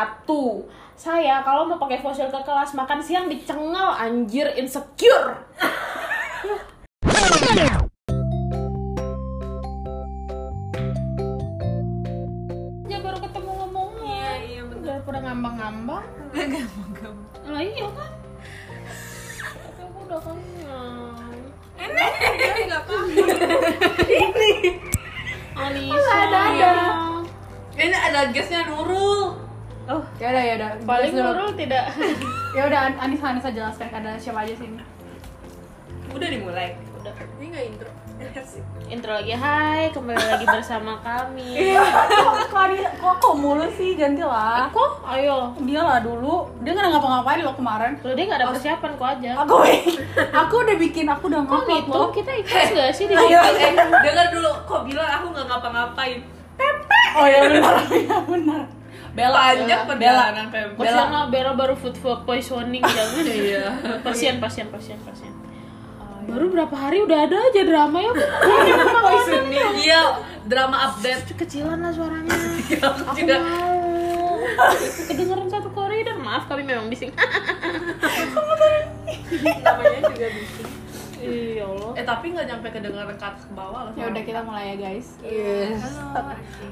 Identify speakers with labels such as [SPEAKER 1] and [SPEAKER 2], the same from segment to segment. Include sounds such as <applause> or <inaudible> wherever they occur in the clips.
[SPEAKER 1] Satu, saya kalau mau pakai facial ke kelas makan siang dicengal anjir insecure. ya baru ketemu ngomongnya.
[SPEAKER 2] Iya, iya, bener.
[SPEAKER 1] Udah pada ngambang-ngambang.
[SPEAKER 2] Gampang-gampang.
[SPEAKER 1] Lah iya kan. Tapi aku udah kenyang.
[SPEAKER 2] Ini nggak apa-apa.
[SPEAKER 1] Alisa.
[SPEAKER 2] ada-ada. Iya. Ini ada gasnya Nurul.
[SPEAKER 1] Oh,
[SPEAKER 3] Ya udah ya udah.
[SPEAKER 1] paling
[SPEAKER 3] Terus dulu.
[SPEAKER 1] Nurul tidak. <laughs>
[SPEAKER 3] Ya udah An- Anissa Anissa jelaskan ada siapa aja sini.
[SPEAKER 2] Udah dimulai.
[SPEAKER 1] Udah.
[SPEAKER 2] Ini nggak intro.
[SPEAKER 1] Intro lagi, hai kembali lagi bersama kami
[SPEAKER 3] Iya. kok kok Ani- kok kok mulu sih ganti lah.
[SPEAKER 1] Aku, ayo
[SPEAKER 3] Dia lah dulu. Dia nggak ngapa-ngapain loh kemarin.
[SPEAKER 1] Lo dia gak ada persiapan, kok aja
[SPEAKER 3] Aku aku udah bikin aku
[SPEAKER 1] Kok
[SPEAKER 3] udah ngupload
[SPEAKER 1] gitu?
[SPEAKER 3] loh.
[SPEAKER 1] Kita ikhlas gak sih di
[SPEAKER 3] Ayo.
[SPEAKER 2] Eh, dengar dulu. Kok bilang aku nggak ngapa-ngapain?
[SPEAKER 3] Oh ya benar. Iya benar. Bella,
[SPEAKER 2] Panjang
[SPEAKER 3] Bella,
[SPEAKER 2] perjalanan
[SPEAKER 3] Bella.
[SPEAKER 1] Bella Bella baru food for <laughs> poisoning, jangan
[SPEAKER 2] Iya.
[SPEAKER 1] Pasien, pasien, pasien, pasien Baru berapa hari udah ada aja drama <laughs> ya Poisoning
[SPEAKER 2] <laughs> Iya, drama update.
[SPEAKER 1] Kecilan lah suaranya
[SPEAKER 2] Aku
[SPEAKER 1] Aku
[SPEAKER 2] juga
[SPEAKER 1] mau Kedengeran satu koridor Maaf, kami memang bising <laughs>
[SPEAKER 2] namanya juga bising.
[SPEAKER 1] Iya Allah
[SPEAKER 2] Eh tapi nggak nyampe kedengaran ke atas ke bawah lah.
[SPEAKER 3] Ya udah kita mulai ya guys. Yes.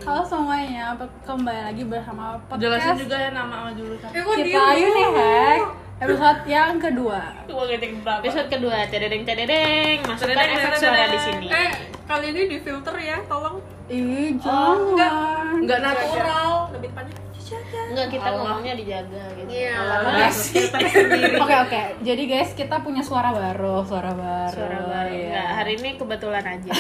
[SPEAKER 3] Halo semuanya, apa- kembali lagi bersama
[SPEAKER 2] Jelasin
[SPEAKER 3] podcast
[SPEAKER 2] juga ya nama sama julusan. Eh,
[SPEAKER 3] kita Unihack episode yang kedua.
[SPEAKER 2] Gua ngetik berapa?
[SPEAKER 1] Episode kedua, tededeng tededeng Masukkan efek suara di sini.
[SPEAKER 2] Eh. kali ini di filter ya, tolong.
[SPEAKER 3] Ih,
[SPEAKER 2] enggak.
[SPEAKER 3] jangan.
[SPEAKER 2] Enggak natural, lebih tepatnya.
[SPEAKER 1] Enggak, kita
[SPEAKER 2] Allah.
[SPEAKER 1] ngomongnya dijaga gitu.
[SPEAKER 2] Iya.
[SPEAKER 1] Allah filter sendiri.
[SPEAKER 3] <laughs> Oke oke, jadi guys kita punya suara baru, suara baru.
[SPEAKER 1] Suara baru.
[SPEAKER 3] ya.
[SPEAKER 1] Enggak, hari ini kebetulan aja.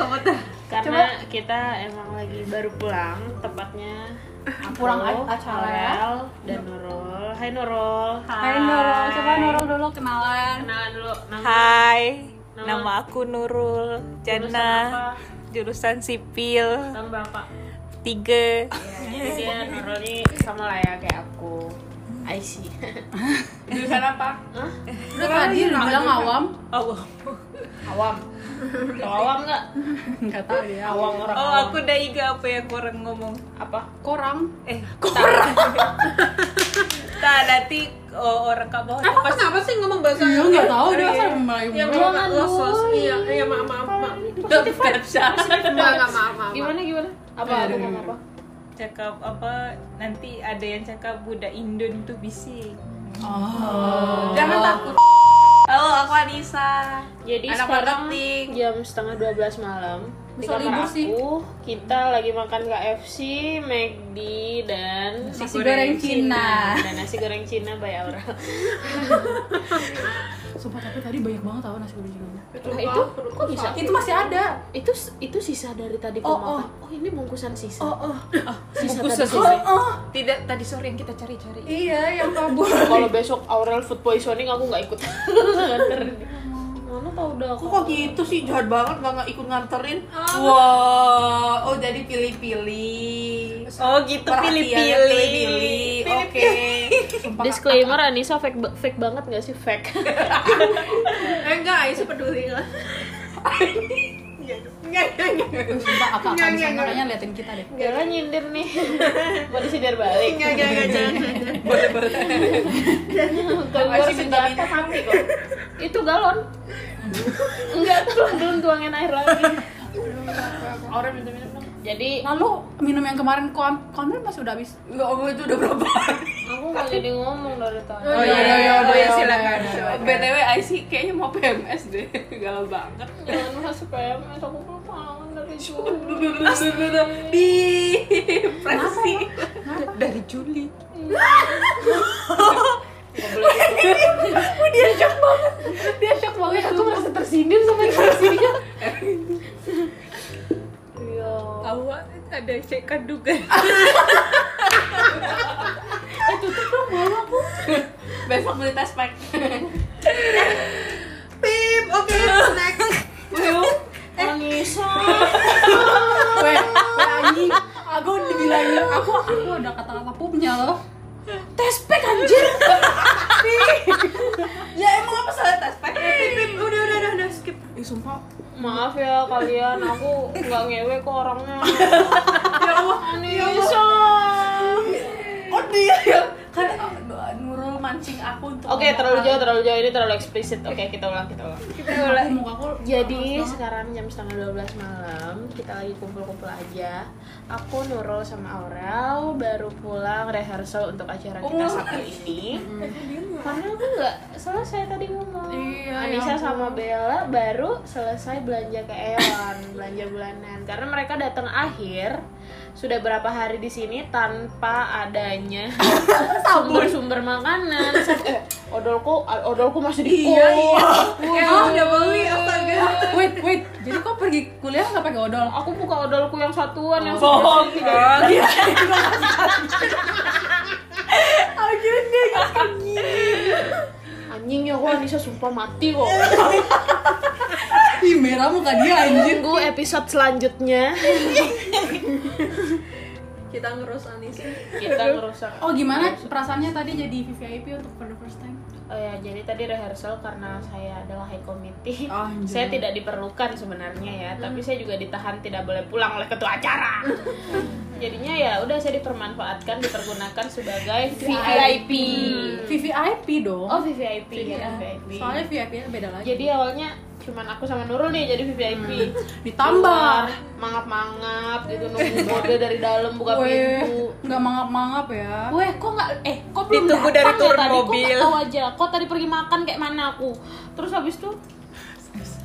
[SPEAKER 2] Kebetulan.
[SPEAKER 1] Karena kita emang lagi baru pulang, tepatnya aku,
[SPEAKER 3] Pulang a- acara ya.
[SPEAKER 1] Aurel, dan Nurul. Hai Nurul.
[SPEAKER 3] Hai Nurul, coba Nurul dulu kenalan.
[SPEAKER 1] Kenalan dulu nama
[SPEAKER 4] Hai,
[SPEAKER 1] Nama?
[SPEAKER 4] nama, aku Nurul
[SPEAKER 1] apa?
[SPEAKER 4] Jana, jurusan sipil
[SPEAKER 1] tahun berapa? Iya,
[SPEAKER 4] 3.
[SPEAKER 1] Jadi dia Nurul ini sama lah ya kayak aku. I see.
[SPEAKER 2] Jurusan apa?
[SPEAKER 1] Hah?
[SPEAKER 3] Udah tadi lu bilang awam,
[SPEAKER 2] Allah.
[SPEAKER 1] Awam. Tau awam enggak?
[SPEAKER 3] nggak tahu dia.
[SPEAKER 1] Awam orang.
[SPEAKER 4] Oh,
[SPEAKER 1] awam.
[SPEAKER 4] aku daiga apa yang orang ngomong?
[SPEAKER 1] apa?
[SPEAKER 3] Korang.
[SPEAKER 4] Eh, kurang. <laughs> tak nanti oh, orang kabau.
[SPEAKER 2] Apa kenapa sih ngomong bahasa
[SPEAKER 3] Lu Iya, nggak tahu dia asal mulai
[SPEAKER 2] Yang
[SPEAKER 3] mulai.
[SPEAKER 2] belum losos. Iya, iya maaf maaf maaf. Enggak enggak maaf maaf.
[SPEAKER 1] Gimana gimana? Apa aku ngomong apa?
[SPEAKER 4] Cakap apa? Nanti ada yang cakap budak Indon tuh bising.
[SPEAKER 3] Oh.
[SPEAKER 2] Jangan takut.
[SPEAKER 4] Oh,
[SPEAKER 2] Halo, aku Anissa.
[SPEAKER 1] Jadi
[SPEAKER 2] Anak
[SPEAKER 1] sekarang
[SPEAKER 2] marketing.
[SPEAKER 1] jam setengah 12 malam di
[SPEAKER 3] Besok
[SPEAKER 1] kamar
[SPEAKER 3] libur sih.
[SPEAKER 1] aku kita lagi makan KFC, McD dan
[SPEAKER 3] Nasi goreng Cina.
[SPEAKER 1] dan nasi goreng Cina by Aura.
[SPEAKER 3] Sumpah tapi tadi banyak banget tau nasi goreng Cina.
[SPEAKER 1] Nah, itu <laughs> kok bisa?
[SPEAKER 3] Itu masih ada.
[SPEAKER 1] Itu itu sisa dari tadi aku
[SPEAKER 3] Oh,
[SPEAKER 1] makan. Oh, ini bungkusan sisa.
[SPEAKER 3] Oh oh.
[SPEAKER 1] sisa
[SPEAKER 4] bungkusan.
[SPEAKER 1] tadi sore.
[SPEAKER 3] Oh.
[SPEAKER 4] Tidak tadi sore yang kita cari-cari.
[SPEAKER 3] Iya yang kabur.
[SPEAKER 1] <laughs> Kalau besok Aurel food poisoning aku nggak ikut. Nganter. <laughs> Mana tau udah
[SPEAKER 2] Kok kok gitu sih jahat banget gak, nggak ikut nganterin.
[SPEAKER 4] Oh.
[SPEAKER 2] Wow, oh jadi pilih-pilih.
[SPEAKER 4] Oh, gitu
[SPEAKER 2] Perhatiannya
[SPEAKER 4] pilih-pilih.
[SPEAKER 2] Oke.
[SPEAKER 1] Disclaimer Anissa fake ba- fake banget gak sih fake? <laughs>
[SPEAKER 2] Eh enggak, Aisyah peduli
[SPEAKER 4] Iya.
[SPEAKER 2] lah. Enggak, enggak, enggak.
[SPEAKER 3] Sumpah kakak akan sana kayaknya liatin kita deh.
[SPEAKER 1] Bella nyindir nih. <laughs> Mau disindir balik.
[SPEAKER 2] Enggak, enggak, enggak,
[SPEAKER 1] Kalau
[SPEAKER 2] jangan.
[SPEAKER 1] gue harus jatuh mati kok. <laughs> Itu galon. Enggak tuh belum tuangin air lagi.
[SPEAKER 2] Orang minta-minta dong.
[SPEAKER 1] Jadi
[SPEAKER 3] Lalu minum yang kemarin kom komplain masih udah habis.
[SPEAKER 2] Enggak, om itu udah berapa hari?
[SPEAKER 1] aku nggak jadi ngomong dari tadi.
[SPEAKER 2] Oh
[SPEAKER 3] iya, iya, iya,
[SPEAKER 2] oh,
[SPEAKER 3] iya,
[SPEAKER 2] iya, silakan.
[SPEAKER 3] iya, iya, iya.
[SPEAKER 2] BTW Aisyah kayaknya mau PMS deh. <laughs> Galau banget.
[SPEAKER 1] Jangan masuk PMS aku belum pengalaman dari dulu.
[SPEAKER 2] Di presi.
[SPEAKER 4] Dari Juli.
[SPEAKER 3] Dia shock banget. Aku merasa tersindir sama ekspresinya.
[SPEAKER 1] Iya.
[SPEAKER 4] Awak ada cek
[SPEAKER 5] <laughs>
[SPEAKER 4] kandungan.
[SPEAKER 2] Eh, Besok beli tes pack. Pip, oke, next. Eh.
[SPEAKER 1] Anissa.
[SPEAKER 3] Weh, weh, anjing. Aku dibilangin, aku aku ada kata-kata pupnya loh. Tespek anjir.
[SPEAKER 2] ya emang apa salah tes pack? Pip, udah, udah, udah, udah, skip.
[SPEAKER 3] Ih, sumpah.
[SPEAKER 1] Maaf ya kalian, aku nggak
[SPEAKER 2] <laughs>
[SPEAKER 1] ngewe kok orangnya.
[SPEAKER 2] Ya Allah,
[SPEAKER 1] Anissa.
[SPEAKER 2] kok
[SPEAKER 5] dia yang kan oh, Nurul mancing aku untuk
[SPEAKER 1] Oke,
[SPEAKER 5] ngomong
[SPEAKER 1] terlalu
[SPEAKER 5] hal-
[SPEAKER 1] jauh, terlalu jauh ini terlalu eksplisit. Oke, kita ulang, kita ulang.
[SPEAKER 3] Kita ulah muka aku.
[SPEAKER 1] Jadi sekarang jam setengah 12 malam, kita lagi kumpul-kumpul aja. Aku Nurul sama Aurel baru pulang rehearsal untuk acara kita
[SPEAKER 5] Oh.
[SPEAKER 1] Sabtu
[SPEAKER 5] <laughs>
[SPEAKER 1] ini. Karena aku nggak selesai tadi ngomong.
[SPEAKER 5] Iya,
[SPEAKER 1] Anissa
[SPEAKER 5] ya
[SPEAKER 1] sama Bella baru selesai belanja ke Ewan, <coughs> belanja bulanan. Karena mereka datang akhir sudah berapa hari di sini tanpa
[SPEAKER 5] <coughs>
[SPEAKER 1] adanya sumber-sumber makanan. Sampai, eh, odolku odolku masih di
[SPEAKER 5] Iya,
[SPEAKER 3] Oh.
[SPEAKER 5] iya.
[SPEAKER 1] Wah.
[SPEAKER 5] Emang udah beli astaga.
[SPEAKER 3] Wait, wait. Jadi kok pergi kuliah nggak pakai odol?
[SPEAKER 1] aku buka odolku yang satuan yang
[SPEAKER 3] Oh.
[SPEAKER 6] bohong
[SPEAKER 1] satuan.
[SPEAKER 6] kan
[SPEAKER 5] Iya.
[SPEAKER 1] anjing ya gua Anissa sumpah mati kok
[SPEAKER 3] Ih, merah muka dia anjir.
[SPEAKER 1] tunggu episode selanjutnya
[SPEAKER 5] Kita ngerus Anissa.
[SPEAKER 1] kita ngerusak
[SPEAKER 3] Oh, gimana perasaannya tadi jadi VVIP untuk for the first time?
[SPEAKER 1] oh ya jadi tadi rehearsal karena saya adalah high committee
[SPEAKER 3] Anjir.
[SPEAKER 1] saya tidak diperlukan sebenarnya ya tapi
[SPEAKER 3] Hmm.
[SPEAKER 1] saya juga ditahan tidak boleh pulang oleh ketua acara jadinya ya udah saya dipermanfaatkan dipergunakan sebagai VIP
[SPEAKER 3] Hmm. VVIP dong.
[SPEAKER 1] oh VVIP ya
[SPEAKER 3] Iya.
[SPEAKER 1] VIP
[SPEAKER 3] Soalnya VIP-nya beda lagi.
[SPEAKER 1] jadi awalnya cuman aku sama Nurul nih jadi VIP
[SPEAKER 3] Hmm.
[SPEAKER 1] Keluar,
[SPEAKER 3] ditambah.
[SPEAKER 1] mangap-mangap gitu nunggu mode dari dalam buka
[SPEAKER 3] Weh,
[SPEAKER 1] pintu
[SPEAKER 3] nggak mangap-mangap ya.
[SPEAKER 1] Weh, kok nggak eh kok belum
[SPEAKER 6] Ditunggu dari
[SPEAKER 1] datang ya
[SPEAKER 6] turun
[SPEAKER 1] tadi?
[SPEAKER 6] mobil.
[SPEAKER 1] Kok nggak tahu aja. Kok tadi pergi makan kayak mana aku? Terus habis itu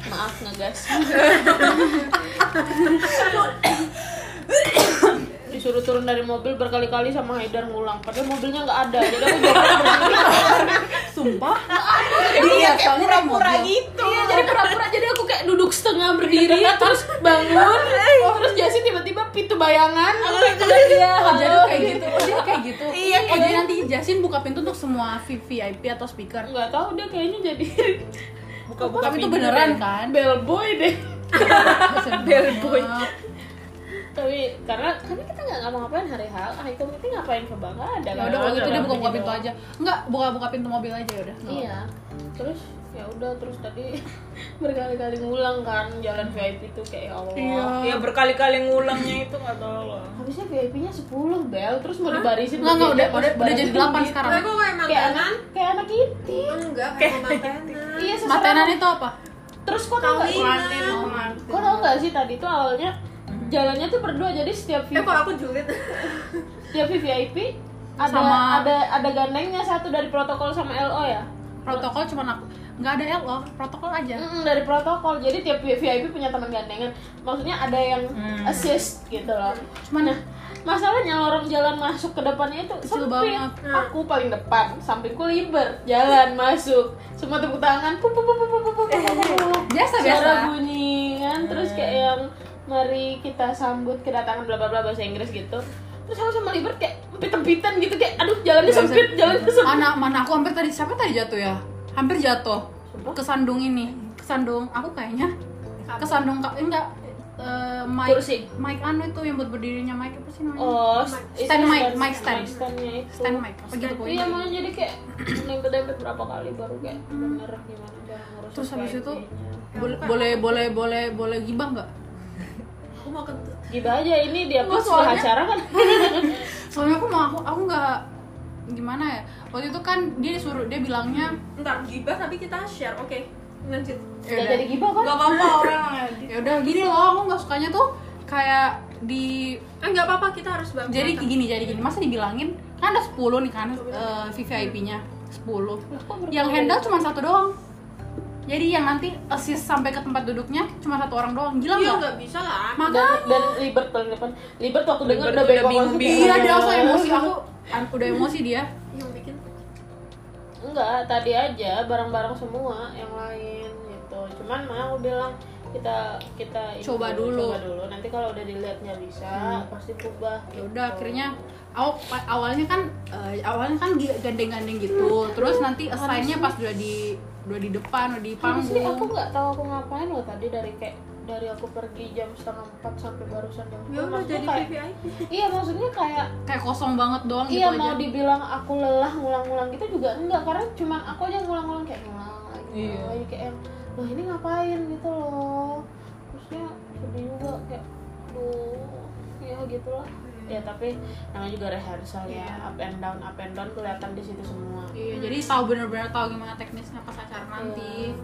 [SPEAKER 1] maaf ngegas. disuruh turun dari mobil berkali-kali sama Haidar ngulang padahal mobilnya nggak ada jadi aku jawabannya
[SPEAKER 3] Sumpah?
[SPEAKER 1] <laughs>
[SPEAKER 3] Iya, soalnya naik mobil.
[SPEAKER 1] gitu iya jadi pura-pura jadi aku kayak duduk setengah <laughs> berdiri terus bangun Oh, terus Jasin tiba-tiba pintu bayangan
[SPEAKER 3] Iya, oh, jadi kayak gitu. Oh, jadi kayak gitu. Iya, oh, jadi nanti Jasin buka pintu untuk semua VIP atau
[SPEAKER 1] <laughs>
[SPEAKER 3] speaker.
[SPEAKER 1] nggak tahu dia kayaknya <laughs> jadi
[SPEAKER 6] buka-buka
[SPEAKER 3] Tapi itu
[SPEAKER 6] pintu
[SPEAKER 3] beneran
[SPEAKER 6] deh.
[SPEAKER 3] kan?
[SPEAKER 1] bellboy deh
[SPEAKER 3] Bellboy.
[SPEAKER 1] tapi karena karena kita nggak ngapa-ngapain hari hal high committee ngapain ke bangga ada
[SPEAKER 3] Ya
[SPEAKER 1] kan?
[SPEAKER 3] udah kalau gitu dia
[SPEAKER 1] Ada
[SPEAKER 3] buka-buka
[SPEAKER 1] gitu.
[SPEAKER 3] pintu aja. Enggak, buka-buka pintu mobil aja ya udah.
[SPEAKER 1] iya terus ya udah terus tadi <laughs> berkali-kali ngulang kan jalan VIP itu kayak ya Allah
[SPEAKER 2] Iya,
[SPEAKER 3] Iya.
[SPEAKER 6] ya berkali-kali ngulangnya itu nggak tolong
[SPEAKER 1] habisnya VIP-nya 10 bel terus mau dibarisin
[SPEAKER 3] Enggak, enggak udah
[SPEAKER 1] bertiga,
[SPEAKER 3] udah
[SPEAKER 1] pas
[SPEAKER 3] udah jadi
[SPEAKER 1] barisin
[SPEAKER 3] 8
[SPEAKER 1] gitu.
[SPEAKER 3] sekarang.
[SPEAKER 5] Tapi kayak
[SPEAKER 1] kayak anak kayak anak itu
[SPEAKER 5] Enggak, kayak
[SPEAKER 2] <laughs>
[SPEAKER 5] makanan.
[SPEAKER 1] iya seserah
[SPEAKER 3] Matenan itu apa?
[SPEAKER 1] terus kok tau nggak
[SPEAKER 5] Pengantin,
[SPEAKER 1] kok tau nggak sih tadi tuh awalnya jalannya tuh berdua jadi setiap
[SPEAKER 5] Eh,
[SPEAKER 1] VIP
[SPEAKER 5] kok aku julid?
[SPEAKER 1] setiap VIP ada
[SPEAKER 3] Sama-
[SPEAKER 1] ada ada gandengnya satu dari protokol sama LO ya
[SPEAKER 3] Protokol cuma aku. Enggak ada LO, protokol aja.
[SPEAKER 1] Mm-mm, dari protokol jadi tiap VIP punya teman gandengan maksudnya ada yang assist gitu loh
[SPEAKER 3] Cuman ya,
[SPEAKER 1] masalahnya lorong jalan masuk ke depannya itu
[SPEAKER 3] Kecil
[SPEAKER 1] sempit
[SPEAKER 3] banget.
[SPEAKER 1] aku paling depan sampingku liber jalan masuk semua tepuk tangan pup pup pup pup pup, pup, pup, pup.
[SPEAKER 3] <laughs> biasa biasa.
[SPEAKER 1] suara bunyi kan terus kayak yang mari kita sambut kedatangan bla bla bla bahasa Inggris gitu terus aku sama Libert kayak empit-empitan gitu kayak aduh jalannya
[SPEAKER 3] Biasa.
[SPEAKER 1] sempit jalannya sempit
[SPEAKER 3] Anak mana aku hampir tadi siapa tadi jatuh ya? Hampir jatuh. Kesandung ini, kesandung aku kayaknya. Kesandung ka- eh, enggak eh, mic
[SPEAKER 1] Kursi.
[SPEAKER 3] mic anu itu yang buat berdirinya mic apa sih namanya?
[SPEAKER 1] oh
[SPEAKER 3] Stand mic, mic stand.
[SPEAKER 1] standnya itu
[SPEAKER 3] Stand mic apa gitu
[SPEAKER 1] iya
[SPEAKER 3] pokoknya.
[SPEAKER 1] malah jadi kayak nempet-nempet berapa kali baru kayak bener gimana cara ngurus
[SPEAKER 3] Terus habis itu
[SPEAKER 1] VIP-nya.
[SPEAKER 3] Bo- boleh boleh boleh boleh gibah nggak?
[SPEAKER 5] Aku mau kentut.
[SPEAKER 1] gitu aja ini dia pas
[SPEAKER 3] Enggak,
[SPEAKER 1] setelah
[SPEAKER 3] soalnya-
[SPEAKER 1] acara
[SPEAKER 3] <laughs>
[SPEAKER 1] kan
[SPEAKER 3] Soalnya aku mau aku aku nggak gimana ya? Waktu itu kan dia disuruh dia bilangnya
[SPEAKER 5] Ntar gibah tapi kita share, oke. Lanjut.
[SPEAKER 1] nggak jadi gibah kan
[SPEAKER 5] Gak apa-apa orang lagi.
[SPEAKER 3] ya udah gini loh aku nggak sukanya tuh kayak di
[SPEAKER 5] Eh, nggak apa-apa, kita harus bangun.
[SPEAKER 3] jadi gini jadi gini masa dibilangin kan ada 10 nih kan eh, VVIP-nya 10 yang handle cuma satu doang jadi yang nanti assist sampai ke tempat duduknya cuma satu orang doang gila
[SPEAKER 5] Iya,
[SPEAKER 3] nggak
[SPEAKER 5] nggak bisa lah.
[SPEAKER 1] dan,
[SPEAKER 3] makanya
[SPEAKER 1] dan Libert paling depan Libert waktu denger
[SPEAKER 6] Libert
[SPEAKER 1] udah
[SPEAKER 6] udah
[SPEAKER 1] bengong gitu. langsung kayak,
[SPEAKER 6] bingung.
[SPEAKER 3] iya dia langsung emosi aku an- udah emosi dia
[SPEAKER 5] Yang bikin
[SPEAKER 1] Enggak, tadi aja barang-barang semua yang lain gitu. Cuman mah aku bilang kita kita ini
[SPEAKER 3] Coba dulu.
[SPEAKER 1] coba dulu. Nanti kalau udah dilihat nggak bisa, pasti berubah.
[SPEAKER 3] ya udah akhirnya aw- awalnya kan eh, awalnya kan gi- gandeng-gandeng gitu terus nanti assign-nya pas udah di udah di depan udah di
[SPEAKER 1] Asli aku
[SPEAKER 3] panggung
[SPEAKER 1] nggak tahu aku ngapain loh tadi dari kayak dari aku pergi jam setengah empat sampai barusan jam
[SPEAKER 5] Ya
[SPEAKER 1] sepuluh.
[SPEAKER 5] udah
[SPEAKER 1] Maksudnya
[SPEAKER 5] jadi
[SPEAKER 1] kayak,
[SPEAKER 5] VVIP.
[SPEAKER 1] iya maksudnya kayak
[SPEAKER 3] kayak kosong banget doang
[SPEAKER 1] iya
[SPEAKER 3] gitu
[SPEAKER 1] mau
[SPEAKER 3] aja
[SPEAKER 1] dibilang aku lelah ngulang-ngulang gitu juga enggak karena cuman aku aja ngulang-ngulang kayak ngulang lagi
[SPEAKER 5] Iya.
[SPEAKER 1] ngulang lagi kayak yang, loh ini ngapain gitu loh terusnya sedih juga kayak duh ya gitulah
[SPEAKER 5] Iya.
[SPEAKER 1] ya tapi namanya juga rehearsal ya up and down up and down kelihatan di situ semua
[SPEAKER 3] Iya, jadi tahu bener-bener tahu gimana teknisnya pas acara nanti.
[SPEAKER 1] Iya.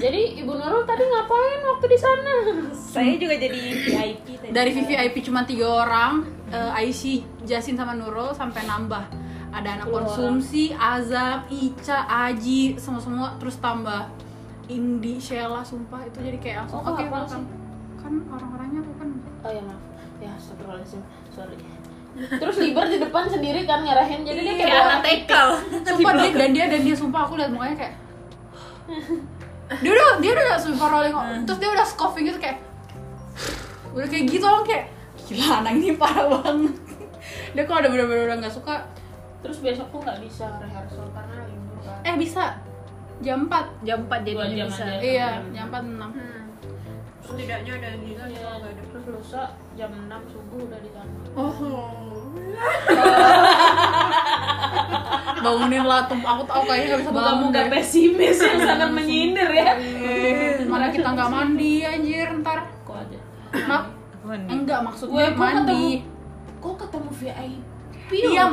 [SPEAKER 1] jadi ibu Nurul tadi ngapain waktu di sana
[SPEAKER 2] Saya juga jadi VIP tadi.
[SPEAKER 3] Dari VVIP cuma tiga orang, eh, Aisyah, Jasin sama Nurul sampai nambah. Ada anak konsumsi, Azam, Ica, Aji, semua-semua terus tambah Indi, Sheila, sumpah itu jadi kayak langsung
[SPEAKER 1] Oh,
[SPEAKER 3] oke
[SPEAKER 1] apa
[SPEAKER 3] welcome." Kan orang-orangnya aku kan
[SPEAKER 1] oh ya maaf ya astagfirullahaladzim sorry terus Liber di depan sendiri kan ngarahin jadi dia kayak anak TK
[SPEAKER 3] sumpah dia dan dia dan dia sumpah aku lihat mukanya kayak dia udah dia udah sumpah rolling terus dia udah scoffing gitu kayak udah kayak gitu orang kayak gila anak ini parah banget <laughs> dia kalau udah bener-bener udah nggak suka
[SPEAKER 1] terus besok tuh nggak bisa rehearsal karena libur kan
[SPEAKER 3] eh bisa jam 4
[SPEAKER 2] jam 4
[SPEAKER 1] Dua
[SPEAKER 2] jadi
[SPEAKER 1] jam
[SPEAKER 2] bisa.
[SPEAKER 1] aja.
[SPEAKER 3] iya jam 4 6
[SPEAKER 5] Hmm.
[SPEAKER 6] Setidaknya udah gila
[SPEAKER 1] Iya, terus lusa jam 6 subuh udah di sana
[SPEAKER 3] oh bangunin lah tuh aku tau kayaknya nggak bisa bangun
[SPEAKER 1] Kamu
[SPEAKER 3] deh.
[SPEAKER 1] gak pesimis yang sangat menyindir ya
[SPEAKER 3] mana kita nggak mandi anjir ntar
[SPEAKER 1] kok aja
[SPEAKER 3] Ma- enggak
[SPEAKER 1] gue
[SPEAKER 3] maksudnya
[SPEAKER 1] gua ketemu
[SPEAKER 3] mandi
[SPEAKER 1] kok ketemu VIP
[SPEAKER 3] Iya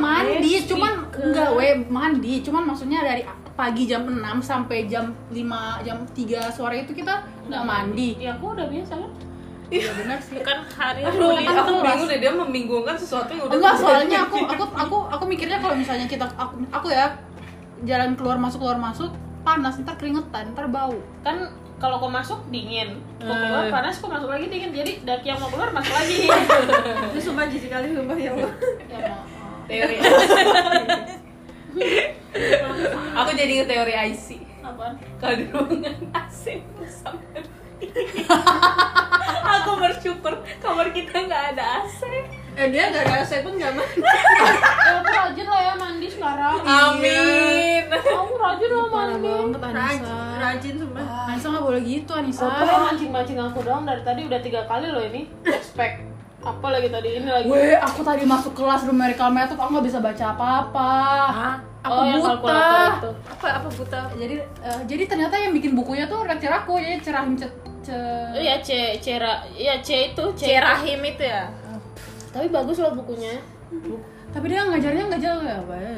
[SPEAKER 1] loh,
[SPEAKER 3] mandi,
[SPEAKER 1] guys.
[SPEAKER 3] cuman
[SPEAKER 1] Speaker.
[SPEAKER 3] enggak we mandi, cuman maksudnya dari pagi jam 6 sampai jam 5 jam 3 sore itu kita nggak mandi.
[SPEAKER 1] ya aku udah biasa kan
[SPEAKER 3] Iya benar sih.
[SPEAKER 2] Bukan hari
[SPEAKER 3] Aduh,
[SPEAKER 2] sulit.
[SPEAKER 3] kan
[SPEAKER 6] Aku
[SPEAKER 3] kelas.
[SPEAKER 6] bingung deh dia membingungkan sesuatu yang udah
[SPEAKER 3] Enggak soalnya aku aku aku aku mikirnya kalau misalnya kita aku, aku ya jalan keluar masuk keluar masuk panas ntar keringetan ntar bau
[SPEAKER 1] kan kalau kau masuk dingin
[SPEAKER 3] Hmm.
[SPEAKER 1] kau keluar
[SPEAKER 2] Eh.
[SPEAKER 1] panas kau masuk lagi dingin jadi daki yang mau keluar masuk
[SPEAKER 3] <laughs>
[SPEAKER 1] lagi
[SPEAKER 3] Ya,
[SPEAKER 6] Itu sumpah jijik kali sumpah ya Allah. <laughs>
[SPEAKER 2] teori. aku jadi inget teori IC.
[SPEAKER 1] apaan
[SPEAKER 2] Kalau di ruangan AC
[SPEAKER 6] <laughs>
[SPEAKER 2] sampai Aku bersyukur kamar kita nggak ada AC.
[SPEAKER 6] Eh dia gak ada saya pun gak mandi
[SPEAKER 1] ya aku rajin lah ya mandi sekarang
[SPEAKER 2] Amin.
[SPEAKER 1] aku rajin lah
[SPEAKER 3] Ah. parah
[SPEAKER 1] mandi
[SPEAKER 3] banget Anissa
[SPEAKER 6] Rajin, rajin sumpah
[SPEAKER 3] Anissa nggak boleh gitu Anissa
[SPEAKER 1] Apa yang mancing-mancing aku doang dari tadi udah tiga kali loh ini Respect Apa lagi tadi ini lagi
[SPEAKER 3] Weh, aku tadi masuk kelas rumah rekamnya tuh aku nggak bisa baca apa-apa. Aku
[SPEAKER 1] Oh, yang kalkulator
[SPEAKER 3] buta.
[SPEAKER 1] itu.
[SPEAKER 6] Apa, apa buta?
[SPEAKER 3] Jadi eh, jadi ternyata yang bikin bukunya tuh retir aku, jadi cerah cet
[SPEAKER 1] Oh iya C, Cera, iya C itu C.
[SPEAKER 2] Cerahim itu ya.
[SPEAKER 1] Tapi bagus loh bukunya.
[SPEAKER 3] Tapi dia ngajarnya nggak jauh ya.
[SPEAKER 1] Ya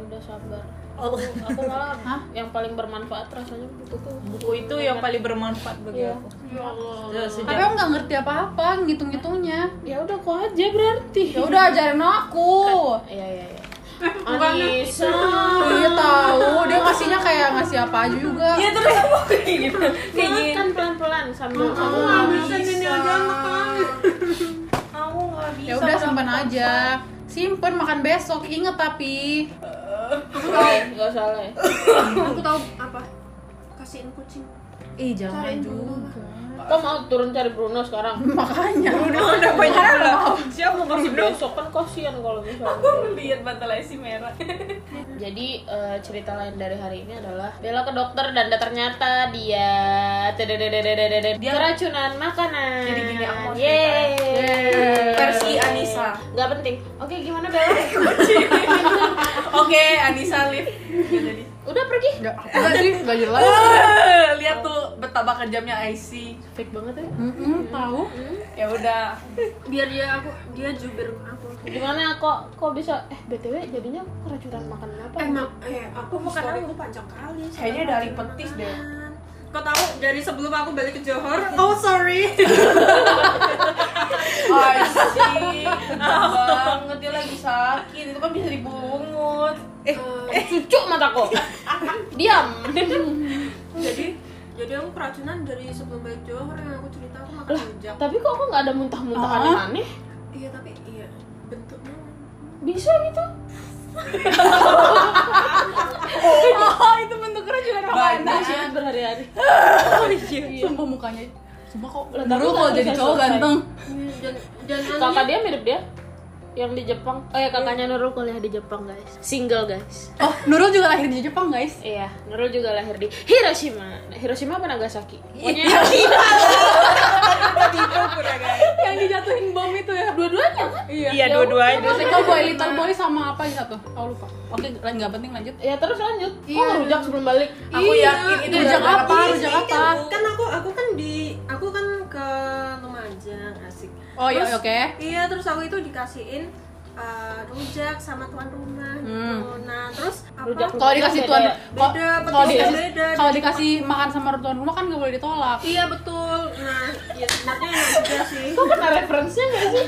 [SPEAKER 1] udah sabar.
[SPEAKER 2] Oh.
[SPEAKER 1] Aku malah
[SPEAKER 3] Hah?
[SPEAKER 1] yang paling bermanfaat rasanya buku tuh.
[SPEAKER 2] Buku itu yang paling bermanfaat bagi
[SPEAKER 1] Iya.
[SPEAKER 2] aku.
[SPEAKER 6] Ya Allah
[SPEAKER 2] Ya,
[SPEAKER 3] Tapi
[SPEAKER 2] Sejak
[SPEAKER 3] aku nggak ngerti apa-apa ngitung-ngitungnya.
[SPEAKER 1] Ya udah kok aja berarti.
[SPEAKER 3] Ya udah ajarin aku.
[SPEAKER 1] Iya iya <laughs> iya. Anissa.
[SPEAKER 3] Iya tahu, dia ngasihnya kayak ngasih apa aja juga.
[SPEAKER 2] Iya terus aku kayak gitu. Kayak gini.
[SPEAKER 1] Makan pelan-pelan sambil kamu
[SPEAKER 6] Bisa
[SPEAKER 2] Aku nggak bisa.
[SPEAKER 3] Ya udah simpan aja. Simpen makan besok, inget tapi.
[SPEAKER 1] Gak salah ya.
[SPEAKER 6] Aku tahu apa? Kasihin kucing
[SPEAKER 3] Ih, jangan juga. <laughs>
[SPEAKER 1] Kau mau turun cari Bruno sekarang?
[SPEAKER 3] Makanya.
[SPEAKER 2] udah banyak lah. Siapa mau
[SPEAKER 1] Masih
[SPEAKER 2] kasih dong?
[SPEAKER 1] besok kan kasihan kalau misalnya.
[SPEAKER 2] Lihat bantal IC merah.
[SPEAKER 1] Jadi eh, cerita lain dari hari ini adalah Bella ke dokter dan ternyata dia tadadadadadadada,
[SPEAKER 2] Dia-
[SPEAKER 1] keracunan makanan.
[SPEAKER 2] Jadi gini, aku mau cerita.
[SPEAKER 1] Yeay.
[SPEAKER 2] Versi Anissa.
[SPEAKER 1] Gak penting. Oke, gimana Bella?
[SPEAKER 2] Oke, Anissa lift. Jadi
[SPEAKER 1] <laughs> Udah pergi?
[SPEAKER 3] Enggak apa sih, enggak jelas.
[SPEAKER 2] Eh, lihat tuh betapa kejamnya IC.
[SPEAKER 1] Fake banget ya.
[SPEAKER 3] Mm-mm, Hmm, tahu.
[SPEAKER 2] Ya udah.
[SPEAKER 6] Biar dia aku, dia jubir aku
[SPEAKER 1] Gimana kok kok bisa eh BTW jadinya aku keracunan makanan apa?
[SPEAKER 6] Emang, eh aku makan aku panjang kali
[SPEAKER 2] Kayaknya dari petis deh.
[SPEAKER 6] Kau tahu dari sebelum aku balik ke Johor <laughs> Oh sorry
[SPEAKER 2] IC. banget dia lagi sakit. Itu kan bisa dibungut.
[SPEAKER 1] Eh, cucuk mataku. <laughs> Diam.
[SPEAKER 6] Jadi jadi aku keracunan dari sebelum balik Johor yang aku cerita aku makan
[SPEAKER 1] lah,
[SPEAKER 6] rujak
[SPEAKER 1] tapi kok aku nggak ada muntah-muntah
[SPEAKER 3] Ah.
[SPEAKER 1] aneh-aneh?
[SPEAKER 6] Iya tapi iya bentuknya
[SPEAKER 1] Bisa gitu?
[SPEAKER 3] Oh, itu bentuk keracunan
[SPEAKER 1] Nah, sih berhari-hari.
[SPEAKER 3] Sumpah mukanya. Sumpah kok.
[SPEAKER 1] Lah, tapi
[SPEAKER 3] Nurul Iya. kalau
[SPEAKER 1] kan
[SPEAKER 3] jadi
[SPEAKER 1] bisa
[SPEAKER 3] cowok
[SPEAKER 1] selesai.
[SPEAKER 3] ganteng.
[SPEAKER 6] Iya, <laughs> dan dan
[SPEAKER 1] Kakak dia mirip dia yang di Jepang. Oh ya kakaknya Nurul kuliah di Jepang guys. Single guys.
[SPEAKER 3] Oh, Nurul juga lahir di Jepang, guys.
[SPEAKER 1] Iya, Nurul juga lahir di Hiroshima. Hiroshima apa Nagasaki? <laughs> Pokoknya
[SPEAKER 3] Yang dijatuhin bom itu ya.
[SPEAKER 1] dua-duanya kan?
[SPEAKER 3] Iya.
[SPEAKER 2] Iya, dua-duanya.
[SPEAKER 3] Little boy, little boy sama apa gitu tuh? Aku lupa. Oke, nggak penting lanjut.
[SPEAKER 1] Ya terus lanjut.
[SPEAKER 3] Iya.
[SPEAKER 1] Kok rujak sebelum balik?
[SPEAKER 2] Aku
[SPEAKER 6] Iya,
[SPEAKER 2] yakin itu
[SPEAKER 3] rujak
[SPEAKER 2] gara-gara
[SPEAKER 3] apa?
[SPEAKER 2] IC.
[SPEAKER 6] gitu.
[SPEAKER 3] Rujak apa?
[SPEAKER 6] kan aku aku kan di aku kan ke Lumajang asik
[SPEAKER 3] Oh iya,
[SPEAKER 6] Terus-
[SPEAKER 3] oke.
[SPEAKER 6] Iya, terus aku itu dikasihin eh, rujak sama tuan rumah gitu. Nah, terus apa?
[SPEAKER 1] Rujak
[SPEAKER 3] Kalau dikasih tuan
[SPEAKER 1] Beda ya?
[SPEAKER 3] kalau-
[SPEAKER 6] Beda,
[SPEAKER 3] kalau
[SPEAKER 6] petisnya
[SPEAKER 3] dikasih-
[SPEAKER 6] beda,
[SPEAKER 3] kalau
[SPEAKER 6] jadi
[SPEAKER 3] dikasih makan sama tuan rumah kan nggak boleh ditolak.
[SPEAKER 6] Iya, betul. Nah, ya sebenarnya enak juga sih.
[SPEAKER 1] Kok kena referensinya gak
[SPEAKER 5] <laughs>
[SPEAKER 1] sih?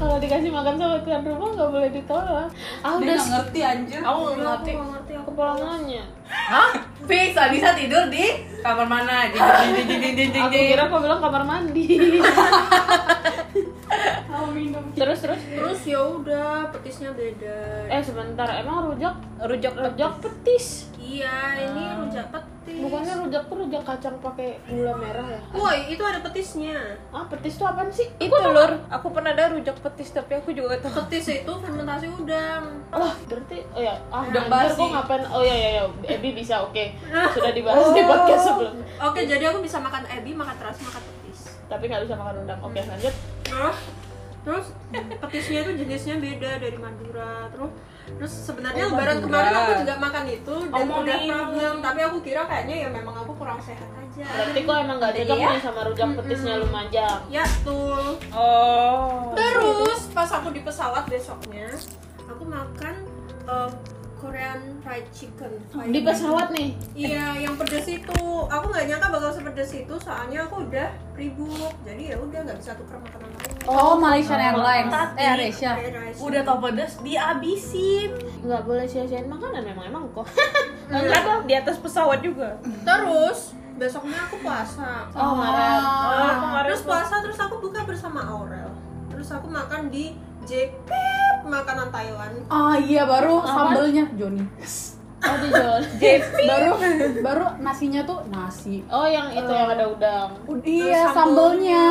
[SPEAKER 1] Kalau dikasih makan sama tuan rumah nggak boleh ditolak. Ah
[SPEAKER 5] Dia
[SPEAKER 1] udah
[SPEAKER 5] nggak ngerti anjir.
[SPEAKER 6] Aku nggak
[SPEAKER 1] Udah,
[SPEAKER 6] ngerti.
[SPEAKER 1] Aku nggak ngerti, aku pulang nanya.
[SPEAKER 5] Hah? Fix, Alisa tidur di kamar mana? Ding ding ding ding ding ding.
[SPEAKER 1] Aku
[SPEAKER 5] ding.
[SPEAKER 1] kira kau bilang kamar
[SPEAKER 5] <laughs>
[SPEAKER 1] mandi. Terus terus.
[SPEAKER 6] Terus ya udah, petisnya beda.
[SPEAKER 1] Eh sebentar, emang rujak
[SPEAKER 6] rujak
[SPEAKER 1] rujak petis.
[SPEAKER 6] Iya, ini rujak petis.
[SPEAKER 1] Bukannya rujak tuh rujak kacang pakai gula merah ya?
[SPEAKER 6] Woi, itu ada petisnya.
[SPEAKER 1] Ah petis tuh apaan sih?
[SPEAKER 2] Itu lur, aku pernah ada rujak petis tapi aku juga gak tahu.
[SPEAKER 6] Petis itu fermentasi udang.
[SPEAKER 1] Wah berarti oh ya ah
[SPEAKER 5] Udah
[SPEAKER 1] anjir,
[SPEAKER 5] basi.
[SPEAKER 1] kok ngapain oh ya ya ya Ebi bisa oke sudah dibahas
[SPEAKER 5] Oh.
[SPEAKER 1] di podcast sebelum
[SPEAKER 6] Oke, jadi aku bisa makan ebi, makan terasi, makan petis.
[SPEAKER 1] tapi nggak bisa makan rendang oke lanjut
[SPEAKER 6] terus terus petisnya itu jenisnya beda dari Madura terus terus sebenarnya lebaran
[SPEAKER 5] Madura.
[SPEAKER 6] kemarin aku juga makan itu dan
[SPEAKER 2] Omongin.
[SPEAKER 6] udah problem tapi aku kira kayaknya ya memang aku kurang sehat aja
[SPEAKER 1] berarti kok emang nggak cocok nih sama rujak petisnya lumajang
[SPEAKER 6] ya betul
[SPEAKER 2] Oh.
[SPEAKER 6] terus pas aku di pesawat besoknya aku makan eh, Korean fried chicken
[SPEAKER 1] di pesawat nih
[SPEAKER 6] Iya, yang pedes itu aku nggak nyangka bakal sepedes itu, soalnya aku udah ribut, jadi ya udah nggak bisa tuker makanan lain.
[SPEAKER 3] Oh, Malaysian Airlines. Eh, Asia.
[SPEAKER 6] Air
[SPEAKER 5] Udah tau pedes dihabisin. Iya.
[SPEAKER 1] nggak boleh sia-siain makanan memang emang <laughs> kok
[SPEAKER 2] Enggak dong, di atas pesawat juga.
[SPEAKER 6] Terus besoknya aku puasa.
[SPEAKER 1] oh marah
[SPEAKER 3] Ah,
[SPEAKER 2] Oh, Ah, kemarin
[SPEAKER 6] terus
[SPEAKER 2] tuh.
[SPEAKER 6] puasa terus aku buka bersama Aurel. Terus aku makan di JP makanan Thailand.
[SPEAKER 3] Ah iya baru sambelnya Joni.
[SPEAKER 1] oh dijual
[SPEAKER 3] Baru baru nasinya tuh nasi.
[SPEAKER 1] oh yang itu yang ada udang
[SPEAKER 3] Udah, iya sambelnya.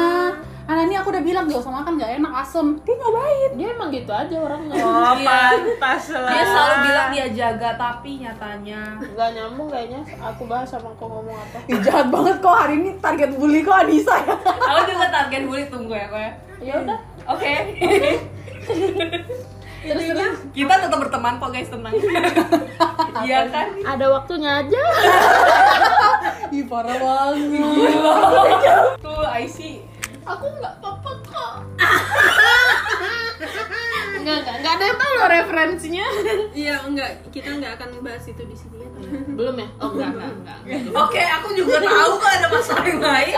[SPEAKER 3] Nah, ini aku udah bilang gak usah makan gak enak asem. Dia nyobain.
[SPEAKER 1] dia emang gitu aja orangnya
[SPEAKER 2] Oh,
[SPEAKER 5] Iya.
[SPEAKER 2] pantas lah.
[SPEAKER 5] Dia selalu bilang dia jaga tapi nyatanya
[SPEAKER 1] nggak nyambung kayaknya aku bahas sama kau ngomong apa
[SPEAKER 3] Ih, jahat banget kok hari ini target bully kok Anissa ya.
[SPEAKER 5] Aku juga target bully tunggu ya kok ya.
[SPEAKER 1] ya udah
[SPEAKER 5] Oke,
[SPEAKER 1] terus terus
[SPEAKER 5] kita tetap berteman kok guys tenang. <laughs> Iya kan?
[SPEAKER 1] ada waktunya
[SPEAKER 6] <laughs>
[SPEAKER 1] aja
[SPEAKER 3] Ih parah banget.
[SPEAKER 5] Tuh IC.
[SPEAKER 1] aku nggak apa-apa kok nggak nggak nggak ada yang tahu loh referensinya
[SPEAKER 6] Iya, enggak, kita enggak akan bahas itu di sini ya.
[SPEAKER 1] belum ya oh nggak nggak nggak
[SPEAKER 5] Oke, aku juga tahu kok ada masalah yang lain.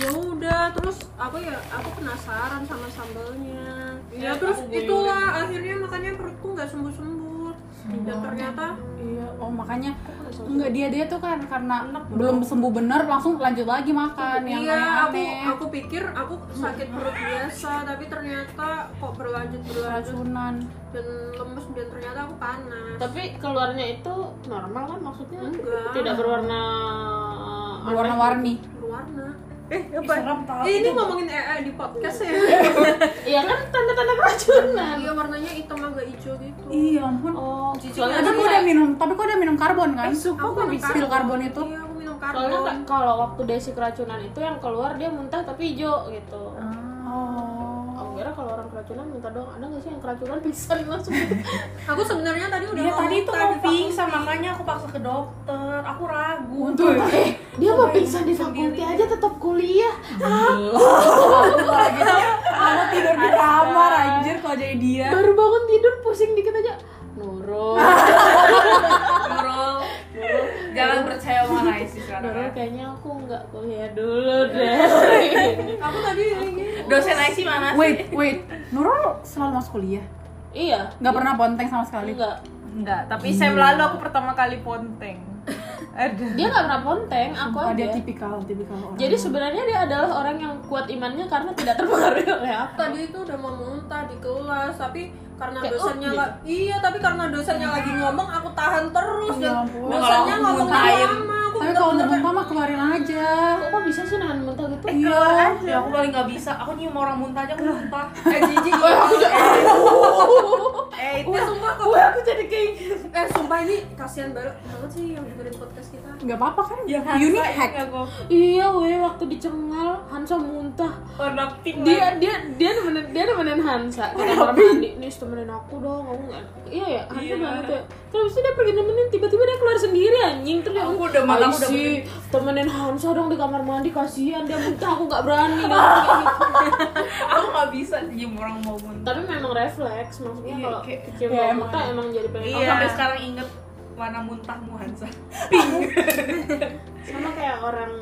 [SPEAKER 6] ya udah, terus aku ya aku penasaran sama sambelnya.
[SPEAKER 2] Eh,
[SPEAKER 6] Ya, terus itulah akhirnya makanya perutku nggak sembuh-sembuh. Dan ternyata
[SPEAKER 3] Iya, oh makanya enggak dia dia tuh kan karena belum sembuh benar langsung lanjut lagi makan yang
[SPEAKER 6] Iya, aku
[SPEAKER 3] aneh-aneh.
[SPEAKER 6] aku pikir aku sakit perut biasa, tapi ternyata kok berlanjut berlanjut
[SPEAKER 3] keracunan.
[SPEAKER 6] dan lemes dan ternyata aku panas.
[SPEAKER 1] tapi keluarnya itu normal kan maksudnya
[SPEAKER 6] Enggak.
[SPEAKER 1] tidak berwarna eh,
[SPEAKER 3] Warna-warni.
[SPEAKER 6] gitu. berwarna.
[SPEAKER 2] eh, apa?
[SPEAKER 5] Iya,
[SPEAKER 6] Eh, ini ngomongin EE di podcast ya.
[SPEAKER 2] <laughs>
[SPEAKER 1] iya kan tanda-tanda keracunan
[SPEAKER 6] Iya, warnanya hitam agak hijau gitu.
[SPEAKER 3] Iya ampun.
[SPEAKER 1] oh soalnya
[SPEAKER 3] Tapi kok udah minum, tapi kok udah minum karbon kan?
[SPEAKER 6] Aku
[SPEAKER 3] Sumpah
[SPEAKER 6] minum
[SPEAKER 3] spill karbon itu.
[SPEAKER 6] Iya, aku minum
[SPEAKER 1] soalnya
[SPEAKER 6] karbon.
[SPEAKER 1] ka- kalau waktu desi keracunan itu yang keluar dia muntah tapi hijau gitu
[SPEAKER 3] Oh.
[SPEAKER 1] aku kira kalau orang keracunan muntah doang ada nggak sih yang keracunan pingsan langsung
[SPEAKER 6] Aku sebenarnya tadi udah
[SPEAKER 3] Iya,
[SPEAKER 5] Dia
[SPEAKER 6] mau
[SPEAKER 5] tadi tuh
[SPEAKER 6] muntah
[SPEAKER 5] mau
[SPEAKER 6] di
[SPEAKER 5] pingsan
[SPEAKER 6] fakulti.
[SPEAKER 5] makanya aku paksa ke dokter. Aku ragu.
[SPEAKER 3] Untung
[SPEAKER 1] eh dia mau pingsan di fakulti aja tetap kuliah
[SPEAKER 3] Aku gitu. tidur di kamar anjir kalau jadi dia.
[SPEAKER 1] baru bangun tidur pusing dikit aja Nurul
[SPEAKER 5] Nurul, Nurul, jangan percaya sama Raisi
[SPEAKER 1] Nurul
[SPEAKER 5] sekarang.
[SPEAKER 1] kayaknya aku nggak kuliah dulu deh
[SPEAKER 6] Aku tadi ini.
[SPEAKER 5] Dosen Raisi mana sih?
[SPEAKER 3] Wait, wait. Nurul selalu masuk kuliah.
[SPEAKER 1] iya
[SPEAKER 3] Nggak pernah bonteng sama sekali.
[SPEAKER 1] enggak
[SPEAKER 2] Enggak, tapi
[SPEAKER 3] Iya.
[SPEAKER 2] saya lalu aku pertama kali ponteng.
[SPEAKER 3] <laughs>
[SPEAKER 2] Ada.
[SPEAKER 1] dia nggak pernah ponteng aku
[SPEAKER 3] Oh, dia
[SPEAKER 1] aja
[SPEAKER 3] tipikal, tipikal orang.
[SPEAKER 1] jadi sebenarnya dia adalah orang yang kuat imannya karena tidak terpengaruh <laughs> Ya. oleh apa
[SPEAKER 6] Tadi itu udah mau muntah di kelas, tapi karena
[SPEAKER 1] Kayak,
[SPEAKER 6] dosennya
[SPEAKER 1] "Oh,"
[SPEAKER 6] la- iya, tapi karena dosennya lagi ngomong aku tahan terus
[SPEAKER 3] Ya
[SPEAKER 6] dan
[SPEAKER 3] ampun.
[SPEAKER 6] dosennya
[SPEAKER 5] Kalau aku
[SPEAKER 6] ngomong
[SPEAKER 5] muntahin.
[SPEAKER 6] lama, aku
[SPEAKER 3] tapi kalau
[SPEAKER 6] bener-bener
[SPEAKER 3] muntah mah keluarin aja.
[SPEAKER 1] kok, kok bisa sih nahan muntah gitu
[SPEAKER 5] Iya, ya
[SPEAKER 3] <laughs> Eh,
[SPEAKER 5] aku paling nggak bisa. Aku nyium orang muntah aja aku muntah.
[SPEAKER 6] kayak jijik.
[SPEAKER 2] eh itu
[SPEAKER 6] Wah, sumpah kok.
[SPEAKER 2] Wah, aku jadi
[SPEAKER 1] gitu.
[SPEAKER 2] keinget
[SPEAKER 6] Eh sumpah ini kasihan baru banget sih yang dengerin podcast kita.
[SPEAKER 3] nggak apa-apa kan
[SPEAKER 2] Ya,
[SPEAKER 3] unique hack
[SPEAKER 1] Iya, weh waktu dicengal Hansa muntah.
[SPEAKER 2] Producting
[SPEAKER 1] Dia dia dia nemenin dia nemenin Hansa ke kamar mandi. Nis temenin aku dong, kamu nggak. Iya ya, Hansa bilang gitu. ya. Terus habis itu dia pergi nemenin, tiba-tiba dia keluar sendiri anjing. Terus dia
[SPEAKER 5] Aku udah malam,
[SPEAKER 1] "Ai
[SPEAKER 5] udah
[SPEAKER 1] sih, temenin Hansa dong di kamar mandi kasihan dia muntah, aku nggak berani. Dia bilang kayak gitu.
[SPEAKER 2] Aku gak bisa diem orang mau muntah
[SPEAKER 1] Tapi memang refleks, maksudnya
[SPEAKER 5] Iya,
[SPEAKER 1] kalau
[SPEAKER 5] kayak-
[SPEAKER 1] kecil
[SPEAKER 2] iya,
[SPEAKER 1] ya,
[SPEAKER 2] emang Iya.
[SPEAKER 1] muntah emang jadi pengen.
[SPEAKER 2] Aku sampai sekarang inget warna muntahmu Hansa
[SPEAKER 1] Sama kayak orang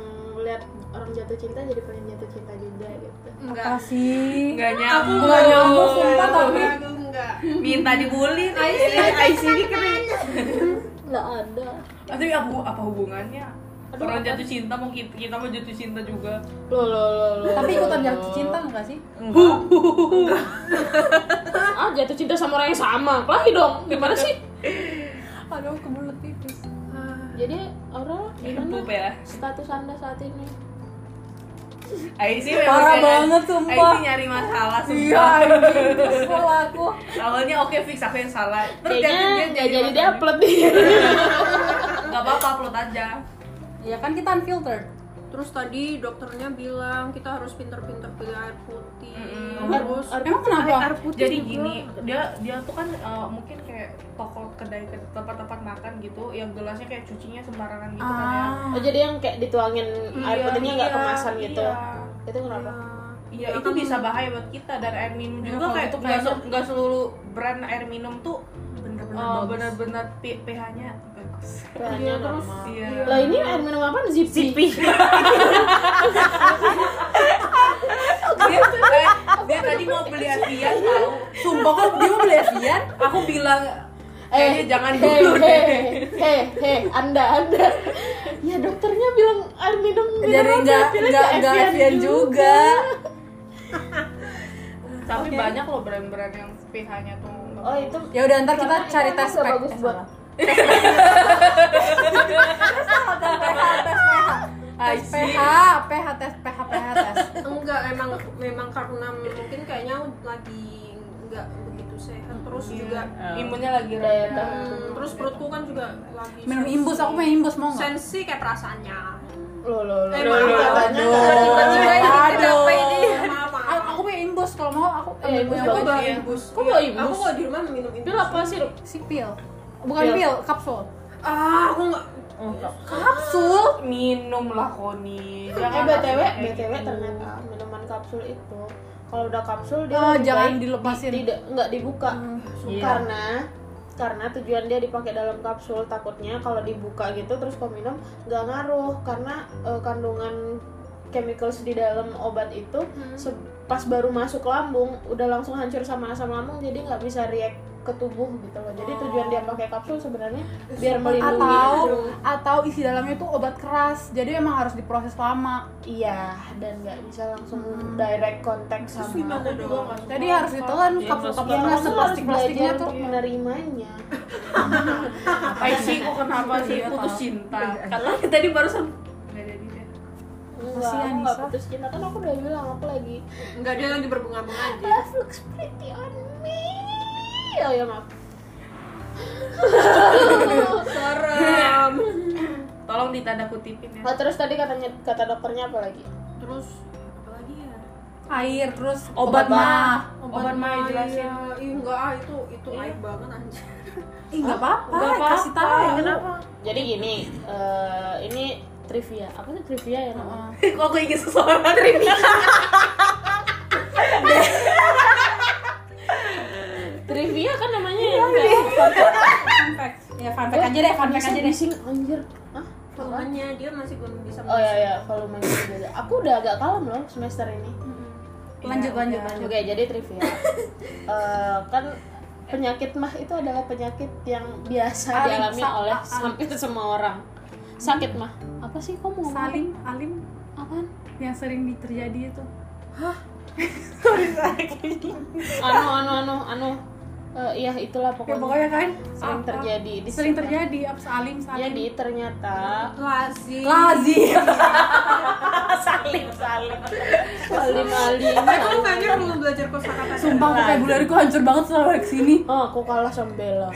[SPEAKER 1] lihat orang jatuh cinta jadi pengen jatuh cinta juga gitu.
[SPEAKER 3] apa sih
[SPEAKER 2] Gak nyambung
[SPEAKER 3] nggak nyambung, sumpah, tapi-
[SPEAKER 6] Aku enggak.
[SPEAKER 2] Minta dibully nih
[SPEAKER 6] Aisyah keren.
[SPEAKER 1] Nggak ada.
[SPEAKER 2] Tapi apa, apa hubungannya? Orang jatuh cinta mau kita, kita mau jatuh cinta juga
[SPEAKER 1] Loh, loh, loh, loh.
[SPEAKER 3] tapi ikutan
[SPEAKER 1] loh.
[SPEAKER 3] jatuh cinta nggak sih
[SPEAKER 1] ah jatuh cinta sama orang yang sama lagi dong gimana sih
[SPEAKER 3] aduh aku mulut tipis
[SPEAKER 1] jadi Aurel
[SPEAKER 3] Iya,
[SPEAKER 2] Empuk
[SPEAKER 1] gimana
[SPEAKER 2] ya
[SPEAKER 1] status anda saat ini
[SPEAKER 2] Aisyah
[SPEAKER 3] Parah
[SPEAKER 2] memang nyari-
[SPEAKER 3] banget, sumpah.
[SPEAKER 2] Aisyah nyari masalah
[SPEAKER 3] iya
[SPEAKER 2] sumpah
[SPEAKER 3] anjing kesel aku
[SPEAKER 2] Awalnya oke fix aku yang salah Terus
[SPEAKER 1] kayaknya
[SPEAKER 2] jatuh-
[SPEAKER 1] nggak jadi dia
[SPEAKER 2] masalah.
[SPEAKER 1] upload nih <laughs>
[SPEAKER 2] Gak apa-apa upload aja
[SPEAKER 3] ya kan kita unfiltered
[SPEAKER 6] Terus tadi dokternya bilang kita harus pinter-pinter pilih air putih.
[SPEAKER 2] Mm-mm.
[SPEAKER 6] Terus
[SPEAKER 3] emang kenapa
[SPEAKER 2] jadi gini dia dia tuh kan uh, mungkin kayak toko kedai ke tempat-tempat makan gitu yang gelasnya kayak cucinya sembarangan gitu kan ya
[SPEAKER 1] oh jadi yang kayak dituangin air
[SPEAKER 2] Iya,
[SPEAKER 1] putihnya nggak
[SPEAKER 2] iya,
[SPEAKER 1] kemasan gitu
[SPEAKER 2] iya.
[SPEAKER 1] itu kenapa
[SPEAKER 2] Iya itu
[SPEAKER 3] Hmm.
[SPEAKER 2] bisa bahaya buat kita dan air minum
[SPEAKER 3] Ya,
[SPEAKER 2] juga
[SPEAKER 3] kalau
[SPEAKER 2] kayak
[SPEAKER 3] itu
[SPEAKER 2] nggak se-
[SPEAKER 3] kayaknya-
[SPEAKER 2] nggak seluruh brand air minum tuh
[SPEAKER 3] bener-bener
[SPEAKER 2] uh,
[SPEAKER 3] bagus.
[SPEAKER 2] benar-benar P- pH-nya bagus.
[SPEAKER 1] Bahannya
[SPEAKER 6] terus
[SPEAKER 3] Ah.
[SPEAKER 1] normal.
[SPEAKER 2] Iya.
[SPEAKER 1] lah ini air minum apa Zippy.
[SPEAKER 2] Dia, tuh- eh, dia tadi mau beli Avian tahu.
[SPEAKER 3] sumpah kan dia mau beli Evian
[SPEAKER 2] Aku bilang kayaknya
[SPEAKER 1] Eh,
[SPEAKER 2] jangan
[SPEAKER 1] heh,
[SPEAKER 2] dulu deh.
[SPEAKER 1] heh, heh, heh, anda, anda. Ya dokternya bilang air minum
[SPEAKER 3] jadi
[SPEAKER 1] mineral,
[SPEAKER 3] nggak
[SPEAKER 1] pilih
[SPEAKER 3] nggak
[SPEAKER 1] ke
[SPEAKER 3] nggak
[SPEAKER 1] Evian
[SPEAKER 3] Evian juga
[SPEAKER 2] Tapi banyak loh brand-brand yang pH-nya tuh. nggak
[SPEAKER 1] Oh itu
[SPEAKER 3] ya udah ntar kita cari
[SPEAKER 1] kan
[SPEAKER 3] tes
[SPEAKER 1] nggak
[SPEAKER 3] pack
[SPEAKER 1] bagus
[SPEAKER 3] Eh,
[SPEAKER 1] buat- <laughs>
[SPEAKER 3] salah. Tes PH, tes PH. Tes PH, PH, tes PH, PH, tes.
[SPEAKER 6] enggak emang memang karena mungkin kayaknya lagi enggak begitu sehat terus
[SPEAKER 3] Iya.
[SPEAKER 6] juga
[SPEAKER 1] Eh.
[SPEAKER 2] imunnya lagi
[SPEAKER 1] daya
[SPEAKER 2] rendah.
[SPEAKER 1] tahan.
[SPEAKER 6] Hmm, terus perutku kan juga lagi
[SPEAKER 3] Minum
[SPEAKER 6] sensi.
[SPEAKER 3] imbus, aku main imbus mau nggak?
[SPEAKER 6] sensi kayak perasaannya
[SPEAKER 1] Loh, loh, loh.
[SPEAKER 6] Eh,
[SPEAKER 1] loh,
[SPEAKER 6] maaf,
[SPEAKER 1] loh, loh.
[SPEAKER 6] katanya tiba-tiba ini kenapa ini
[SPEAKER 3] A-
[SPEAKER 6] maaf maaf
[SPEAKER 3] Aku main imbus kalau mau aku
[SPEAKER 1] Eh,
[SPEAKER 3] eh,
[SPEAKER 1] imbus
[SPEAKER 3] yang
[SPEAKER 6] aku
[SPEAKER 1] bagus.
[SPEAKER 6] bawa
[SPEAKER 2] Iya.
[SPEAKER 6] imbus
[SPEAKER 1] Kok bawa
[SPEAKER 6] Iya, aku
[SPEAKER 1] imbus?
[SPEAKER 6] bawa di rumah minum imbus
[SPEAKER 1] Pil apa sirup?
[SPEAKER 3] si pil. Bukan
[SPEAKER 1] Pil.
[SPEAKER 3] pil, kapsul.
[SPEAKER 6] ah aku nggak
[SPEAKER 2] Oh,
[SPEAKER 3] Kapsul.
[SPEAKER 2] Minum lah Koni.
[SPEAKER 1] Eh BTW,
[SPEAKER 2] Jangan langsung kayak
[SPEAKER 1] BTW
[SPEAKER 2] gitu.
[SPEAKER 1] ternyata minuman kapsul itu kalau udah kapsul dia
[SPEAKER 3] Oh,
[SPEAKER 1] lebih
[SPEAKER 3] jangan
[SPEAKER 1] baik
[SPEAKER 3] dilepasin.
[SPEAKER 1] Tidak nggak dibuka.
[SPEAKER 3] Hmm,
[SPEAKER 2] Iya.
[SPEAKER 1] Karena karena tujuan dia dipakai dalam kapsul takutnya kalau dibuka gitu terus kau minum nggak ngaruh karena eh, kandungan chemicals di dalam obat itu
[SPEAKER 3] Hmm.
[SPEAKER 1] se- pas baru masuk lambung udah langsung hancur sama asam lambung jadi nggak bisa react ke tubuh gitu loh jadi tujuan dia pakai kapsul sebenarnya biar melindungi
[SPEAKER 3] Atau atau isi dalamnya tuh obat keras. Jadi emang harus diproses lama.
[SPEAKER 1] Iya, dan nggak bisa langsung
[SPEAKER 3] Hmm.
[SPEAKER 1] direct contact sama.
[SPEAKER 6] gimana dong
[SPEAKER 3] Jadi harus ditelan iya,
[SPEAKER 1] Ya,
[SPEAKER 3] kapsul-kapsulnya
[SPEAKER 1] kamu harus
[SPEAKER 3] seplastik-plastiknya
[SPEAKER 1] belajar
[SPEAKER 3] tuh.
[SPEAKER 1] untuk menerimanya.
[SPEAKER 2] Apa sih kok kenapa sih putus cinta? Katanya tadi barusan <laughs> nggak jadi deh.
[SPEAKER 1] Enggak, aku nggak putus cinta kan aku udah bilang aku lagi
[SPEAKER 6] nggak dia lagi berbunga-bunga
[SPEAKER 3] Iya.
[SPEAKER 6] aja
[SPEAKER 1] love looks pretty on me. Oh ya maaf.
[SPEAKER 3] Iya.
[SPEAKER 6] serem
[SPEAKER 2] Tolong ditanda kutipin ya.
[SPEAKER 1] Oh, terus tadi katanya kata dokternya apa lagi?
[SPEAKER 6] terus apa lagi ya
[SPEAKER 3] Air terus
[SPEAKER 2] Obat
[SPEAKER 3] obat mah.
[SPEAKER 2] Obat mah jelasin.
[SPEAKER 6] Iya, Ih, enggak ah itu itu aib banget anjir
[SPEAKER 3] Ih, enggak apa-apa,
[SPEAKER 2] Nggak apa-apa.
[SPEAKER 3] kasih tahu.
[SPEAKER 2] Kenapa?
[SPEAKER 1] Jadi gini, eh, ini trivia. Apa sih trivia ya namanya?
[SPEAKER 2] Kok aku ingin seseorang trivia?
[SPEAKER 1] Trivia kan namanya ya.
[SPEAKER 3] Fun fact. Ya fun fact Iya, aja deh, fun fact aja deh.
[SPEAKER 1] Bising anjir. Hah?
[SPEAKER 6] volumenya dia masih belum bisa
[SPEAKER 1] Oh ya ya, volumenya beda. Aku udah agak kalem loh semester ini.
[SPEAKER 3] Lanjut, lanjut, lanjut.
[SPEAKER 1] Oke, jadi <laughs> trivia. Eh, kan penyakit mah itu adalah penyakit yang biasa
[SPEAKER 3] Alim,
[SPEAKER 1] dialami
[SPEAKER 3] sa-
[SPEAKER 1] oleh
[SPEAKER 3] a- alim.
[SPEAKER 1] hampir semua orang. Sakit mah. ah, Apa sih kamu ngomong?
[SPEAKER 3] Salim, Alim
[SPEAKER 1] Apaan?
[SPEAKER 3] yang sering terjadi itu.
[SPEAKER 1] Anu anu anu anu. Eh, iya itulah
[SPEAKER 3] Ya
[SPEAKER 1] pokoknya. Ya,
[SPEAKER 3] pokoknya kan
[SPEAKER 1] sering
[SPEAKER 3] apa-
[SPEAKER 1] terjadi. Di Iya,
[SPEAKER 3] Sering terjadi apa Salim, Salim.
[SPEAKER 1] Jadi ternyata
[SPEAKER 6] lazim
[SPEAKER 3] Lazim.
[SPEAKER 1] salim salim salim alim
[SPEAKER 6] Tapi Nah, lu kayaknya perlu belajar kosakata.
[SPEAKER 3] Sumpah vocabulary ku hancur banget setelah balik sini.
[SPEAKER 1] oh aku kalah sama Bella